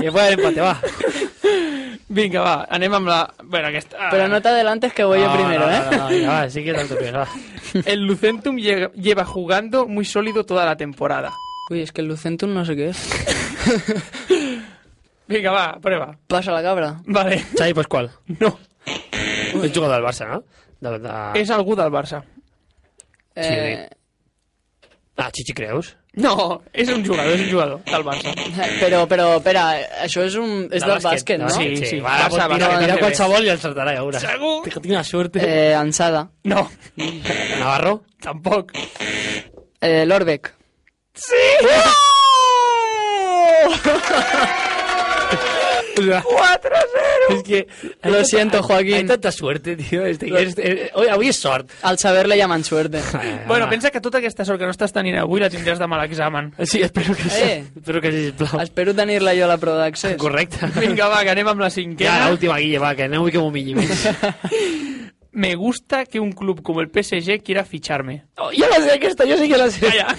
Speaker 3: Que puede haber empate, va.
Speaker 4: Vinga, va, anem amb la... Bueno, aquesta... ah.
Speaker 6: Però no t'adelantes que voy yo primero,
Speaker 3: no,
Speaker 6: eh?
Speaker 3: No, no, venga, va, sí que tanto pies, va.
Speaker 4: El Lucentum lle- lleva jugando muy sólido toda la temporada.
Speaker 6: Uy, es que el Lucentum no sé qué es.
Speaker 4: Vinga, va, prueba.
Speaker 6: Pasa la cabra.
Speaker 4: Vale.
Speaker 3: Xavi pues, Pasqual.
Speaker 4: No.
Speaker 3: És jugador del Barça, no? De, de...
Speaker 4: És algú del Barça.
Speaker 6: Eh,
Speaker 3: Ah, Chichi Creus.
Speaker 4: No, és un jugador, és un jugador del Barça.
Speaker 6: però, però, espera, això és, un, és del bàsquet, no?
Speaker 4: bàsquet.
Speaker 3: Sí, sí.
Speaker 4: Sí,
Speaker 3: Va,
Speaker 4: Barça,
Speaker 3: Barça, mira,
Speaker 4: Barça,
Speaker 3: mira
Speaker 4: Barça.
Speaker 3: qualsevol i el certarà, ja veuràs.
Speaker 4: Segur?
Speaker 3: Tinc una sort. Eh.
Speaker 6: Eh, Ansada.
Speaker 4: No,
Speaker 3: Navarro.
Speaker 4: tampoc.
Speaker 6: Eh, Lorbeck.
Speaker 3: O sea,
Speaker 4: 4-0!
Speaker 3: és que...
Speaker 6: Lo siento, Joaquín.
Speaker 3: Hay tanta suerte, tío. Este, este, este, hoy, Ah, avui és sort.
Speaker 6: Al saber le llaman suerte.
Speaker 4: Bueno, pensa que tota aquesta sort que no estàs tenint avui la tindràs demà a l'examen.
Speaker 3: Sí, espero que sí.
Speaker 6: Eh.
Speaker 3: Espero que sisplau.
Speaker 6: Espero tenir-la jo a la prova d'accés.
Speaker 3: Correcte.
Speaker 4: Vinga, va, que anem amb la
Speaker 3: Ja,
Speaker 4: cinquena.
Speaker 3: l'última, Guille, va, que no vull que m'humilli més.
Speaker 4: Me gusta que un club como el PSG quiera ficharme.
Speaker 3: Oh, ja la sé aquesta, jo sí que la sé.
Speaker 4: Calla.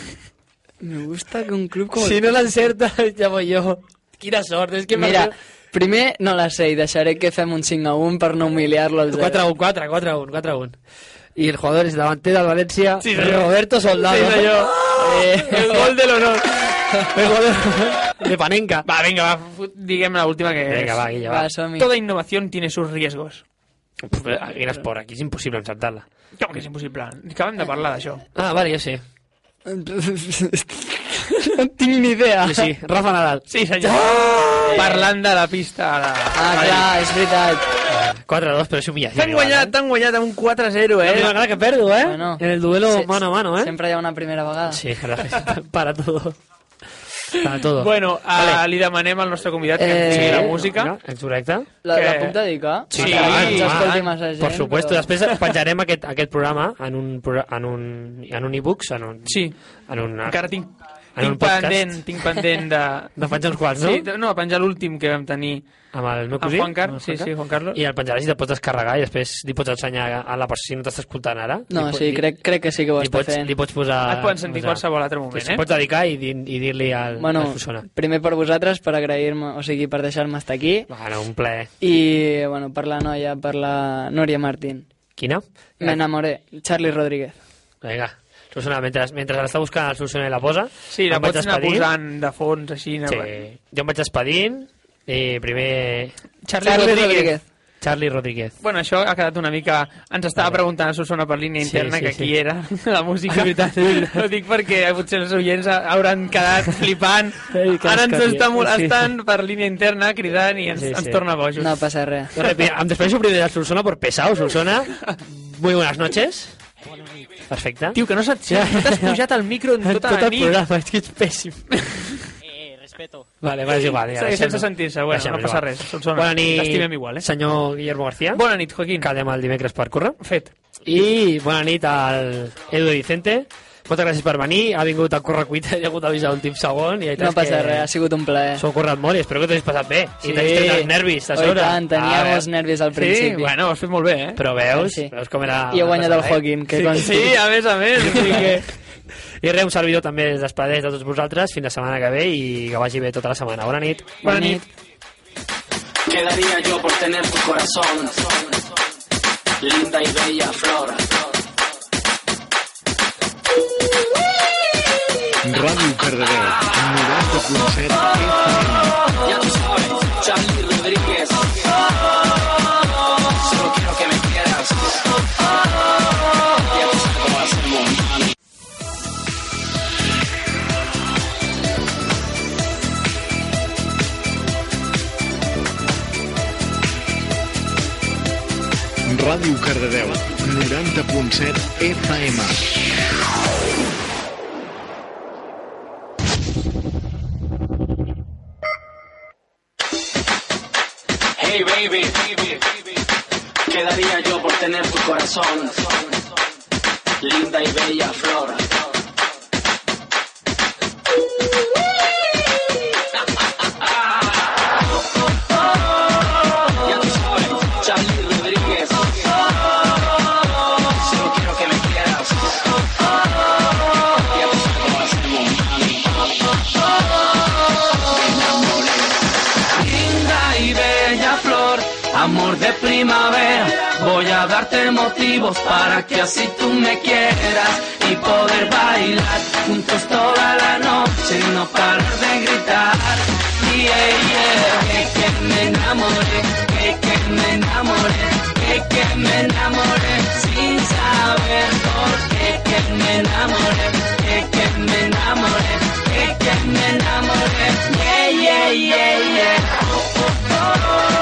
Speaker 6: Me gusta que un club com...
Speaker 3: Si no l'encerta, ja voy jo. Quina sort, és que...
Speaker 6: Mira, primer no la sé i deixaré que fem un 5 a 1 per no humiliar-lo al 0.
Speaker 3: 4-1, 4, 4-1, 4-1. Y el jugador es davante del Valencia,
Speaker 4: Sí, señor.
Speaker 3: Roberto Soldado.
Speaker 4: Sí, señor.
Speaker 3: Eh,
Speaker 4: El gol del honor.
Speaker 3: el jugador de Panenka.
Speaker 4: Va, vinga, va, fu- diguem la última que
Speaker 3: Venga,
Speaker 4: és.
Speaker 3: va, Guille, va.
Speaker 6: Va, som-hi.
Speaker 4: Toda innovación tiene sus riesgos.
Speaker 3: Eres por aquí, es imposible encertarla.
Speaker 4: Com que és impossible? Acabem de parlar d'això.
Speaker 3: Ah, vale, yo sé.
Speaker 6: No tinc ni idea.
Speaker 3: Sí, sí, Rafa Nadal.
Speaker 4: Sí, senyor. Parlant de la pista ara.
Speaker 6: Ah, clar, és veritat.
Speaker 3: 4-2, pero es humillación. ¿eh?
Speaker 4: T'han guanyat, t'han guanyat amb un 4-0, eh?
Speaker 3: La cara que perdo, ¿eh?
Speaker 6: Bueno.
Speaker 3: en el duelo
Speaker 6: Sí,
Speaker 3: mano a mano, ¿eh?
Speaker 6: Sempre hi ha una primera vegada.
Speaker 3: Sí, la verdad, para todo. Para todo.
Speaker 4: Bueno, a,
Speaker 3: Vale.
Speaker 4: li demanem al nostre convidat que
Speaker 6: Eh,
Speaker 4: ens digui la
Speaker 6: no,
Speaker 4: música.
Speaker 3: No, en correcte.
Speaker 6: La, la
Speaker 4: Que-
Speaker 6: puc dedicar?
Speaker 4: Sí,
Speaker 6: Encara que no
Speaker 4: tant,
Speaker 6: ens escolti
Speaker 3: Ah,
Speaker 6: massa gent,
Speaker 3: Per supuesto,
Speaker 6: però-
Speaker 3: després penjarem aquest, aquest programa en un, pro- en un, en un e-books, en un,
Speaker 4: Sí.
Speaker 3: en un,
Speaker 4: Encara tinc,
Speaker 3: en
Speaker 4: tinc
Speaker 3: un podcast.
Speaker 4: pendent, tinc pendent de...
Speaker 3: De penjar uns quants, no?
Speaker 4: Sí, de- no, a penjar l'últim que vam tenir.
Speaker 3: Amb el meu
Speaker 4: Amb
Speaker 3: cosí.
Speaker 4: Juan Car-
Speaker 3: amb el
Speaker 4: sí,
Speaker 3: Car-
Speaker 4: sí, Juan Carlos.
Speaker 3: I el penjaràs i te'l pots descarregar i després li pots ensenyar a la persona si no t'està escoltant ara.
Speaker 6: No,
Speaker 3: Li pot-
Speaker 6: sí,
Speaker 3: li-
Speaker 6: crec, crec que sí que ho
Speaker 3: Li
Speaker 6: està
Speaker 3: pots,
Speaker 6: fent.
Speaker 3: li pots posar...
Speaker 4: Ah, Et poden sentir
Speaker 3: posar-
Speaker 4: qualsevol altre moment,
Speaker 3: sí, sí,
Speaker 4: eh?
Speaker 3: Pots dedicar i, dir, i dir-li al, a
Speaker 6: Bueno,
Speaker 3: la persona.
Speaker 6: primer per vosaltres, per agrair-me, o sigui, per deixar-me estar aquí.
Speaker 3: Bueno, un plaer.
Speaker 6: I, bueno, per la noia, per la Núria Martín.
Speaker 3: Quina?
Speaker 6: Me enamoré. Charlie Rodríguez.
Speaker 3: Vinga. Susana, mentre, mentre l'està buscant el Susana i la posa...
Speaker 4: Sí, la
Speaker 3: em vaig
Speaker 4: pots anar
Speaker 3: despedint.
Speaker 4: posant de fons, així. anar-
Speaker 3: Sí. Jo em vaig despedint i primer...
Speaker 4: Charlie, Rodríguez.
Speaker 3: Charlie Rodríguez.
Speaker 4: Bueno, això ha quedat una mica... Ens estava
Speaker 3: Vale.
Speaker 4: preguntant a Susana per línia
Speaker 3: Sí,
Speaker 4: interna
Speaker 3: sí,
Speaker 4: que
Speaker 3: sí. Ah,
Speaker 4: qui era la música. veritat. Ho dic perquè potser els oients ha- hauran quedat flipant.
Speaker 3: Ei, que
Speaker 4: Ara ens
Speaker 3: escàpia.
Speaker 4: estan
Speaker 3: Sí.
Speaker 4: molestant per línia interna cridant i ens,
Speaker 3: Sí, sí.
Speaker 4: ens torna bojos.
Speaker 6: No pasa res.
Speaker 3: Yo repi- Em despejo primero de Solsona por pesado, Solsona. Muy buenas noches. Perfecta.
Speaker 4: Tio, que no s'ha- no t'has pujat al micro en tota la
Speaker 3: el
Speaker 4: nit.
Speaker 3: programa, és que ets pèssim. Eh, respeto. Vale, va, és igual. Ja,
Speaker 4: Segueix sense
Speaker 3: deixem-ho.
Speaker 4: sentir-se, bueno,
Speaker 3: Deixem-ho
Speaker 4: no passa
Speaker 3: igual.
Speaker 4: res, Solsona,
Speaker 3: Bona nit.
Speaker 4: t'estimem igual, eh?
Speaker 3: Senyor Guillermo García.
Speaker 4: Bona nit, Joaquín.
Speaker 3: Quedem el dimecres per córrer.
Speaker 4: Fet.
Speaker 3: I bona nit al Edu Vicente. Moltes gràcies per venir. Ha vingut a córrer cuita, hi ha hagut d'avisar últim segon. I la veritat
Speaker 6: No
Speaker 3: és que
Speaker 6: passa res, ha sigut un plaer.
Speaker 3: S'ho ha currat molt i espero que t'ho hagis passat bé. I t'hagis tret els nervis, a
Speaker 6: Oh, i
Speaker 3: sobre.
Speaker 6: tant, tenia
Speaker 3: Ah,
Speaker 6: molts nervis al
Speaker 4: Sí,
Speaker 6: principi.
Speaker 4: bueno, ho has fet molt bé, eh?
Speaker 3: Però veus,
Speaker 6: Sí.
Speaker 3: veus com era...
Speaker 6: I he guanyat el
Speaker 3: Eh?
Speaker 6: Joaquín, que
Speaker 4: Sí,
Speaker 6: consti.
Speaker 4: sí, a més a més. o sigui que...
Speaker 3: I res, un servidor també es despedeix de tots vosaltres fins la setmana que ve i que vagi bé tota la setmana. Bona nit.
Speaker 4: Bona nit.
Speaker 10: ¿Qué daría yo por tener tu corazón? Linda y bella flor.
Speaker 1: Ràdio Cardedeu, 90.7 FM.
Speaker 10: Ya tú sabes, Charlie Rodríguez. Solo quiero que me quieras. Ya tú sabes cómo hacemos, mami.
Speaker 1: Ràdio Cardedeu, 90.7 FM.
Speaker 10: Hey baby, baby, baby. ¿Qué daría yo por tener tu corazón? Linda y bella flor. Ya tú sabes, Charlie Rodríguez. Solo quiero que me quieras. Ya tú sabes cómo hacemos, mami. Me enamoré linda y bella flor, amor de
Speaker 6: primavera. Voy a darte motivos para que así tú me quieras y poder bailar juntos toda la noche y no parar de gritar. Yeah, yeah, que, que me enamoré, que, que me enamoré, que, que me enamoré sin saber por qué que me enamoré, que, que me enamoré, que, que me enamoré. Yeah, yeah, yeah, yeah. Oh, oh, oh, oh,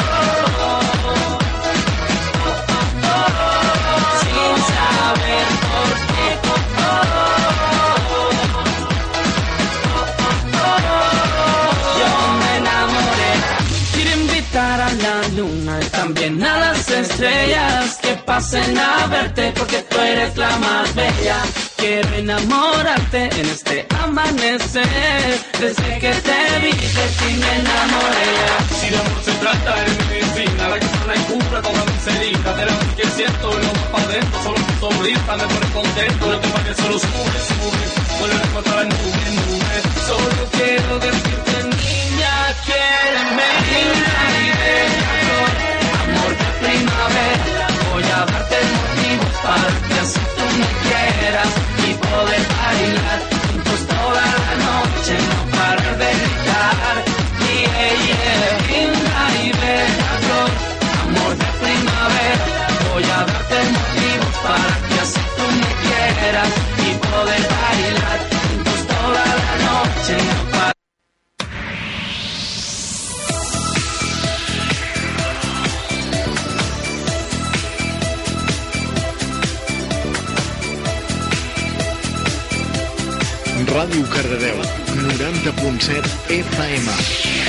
Speaker 6: oh. Sin saber por qué. Oh, oh, oh. Yo me enamoré. Quiero invitar a la luna y también a las estrellas que pasen a verte porque tú eres la más bella. Quiero enamorarte en este amanecer. Desde que te vi, de ti me enamoré. Si de amor se trata, es medicina. La que sana y cura con la miserita. De la que siento, no va para adentro. Solo tu sonrisa me pone contento. No tema que solo sube, sube. Vuelve contra la nube, nube. Solo quiero decirte, niña, quiéreme. Niña, mi bella flor, amor de primavera. Voy a darte motivos para que así tú me quieras y poder bailar juntos toda la noche, no parar de gritar. Yeah, yeah, linda y bella flor, amor de primavera. Voy a darte motivos para que así tú me quieras y poder bailar juntos toda la noche, no parar.
Speaker 1: Ràdio Cardedeu, 90.7 FM.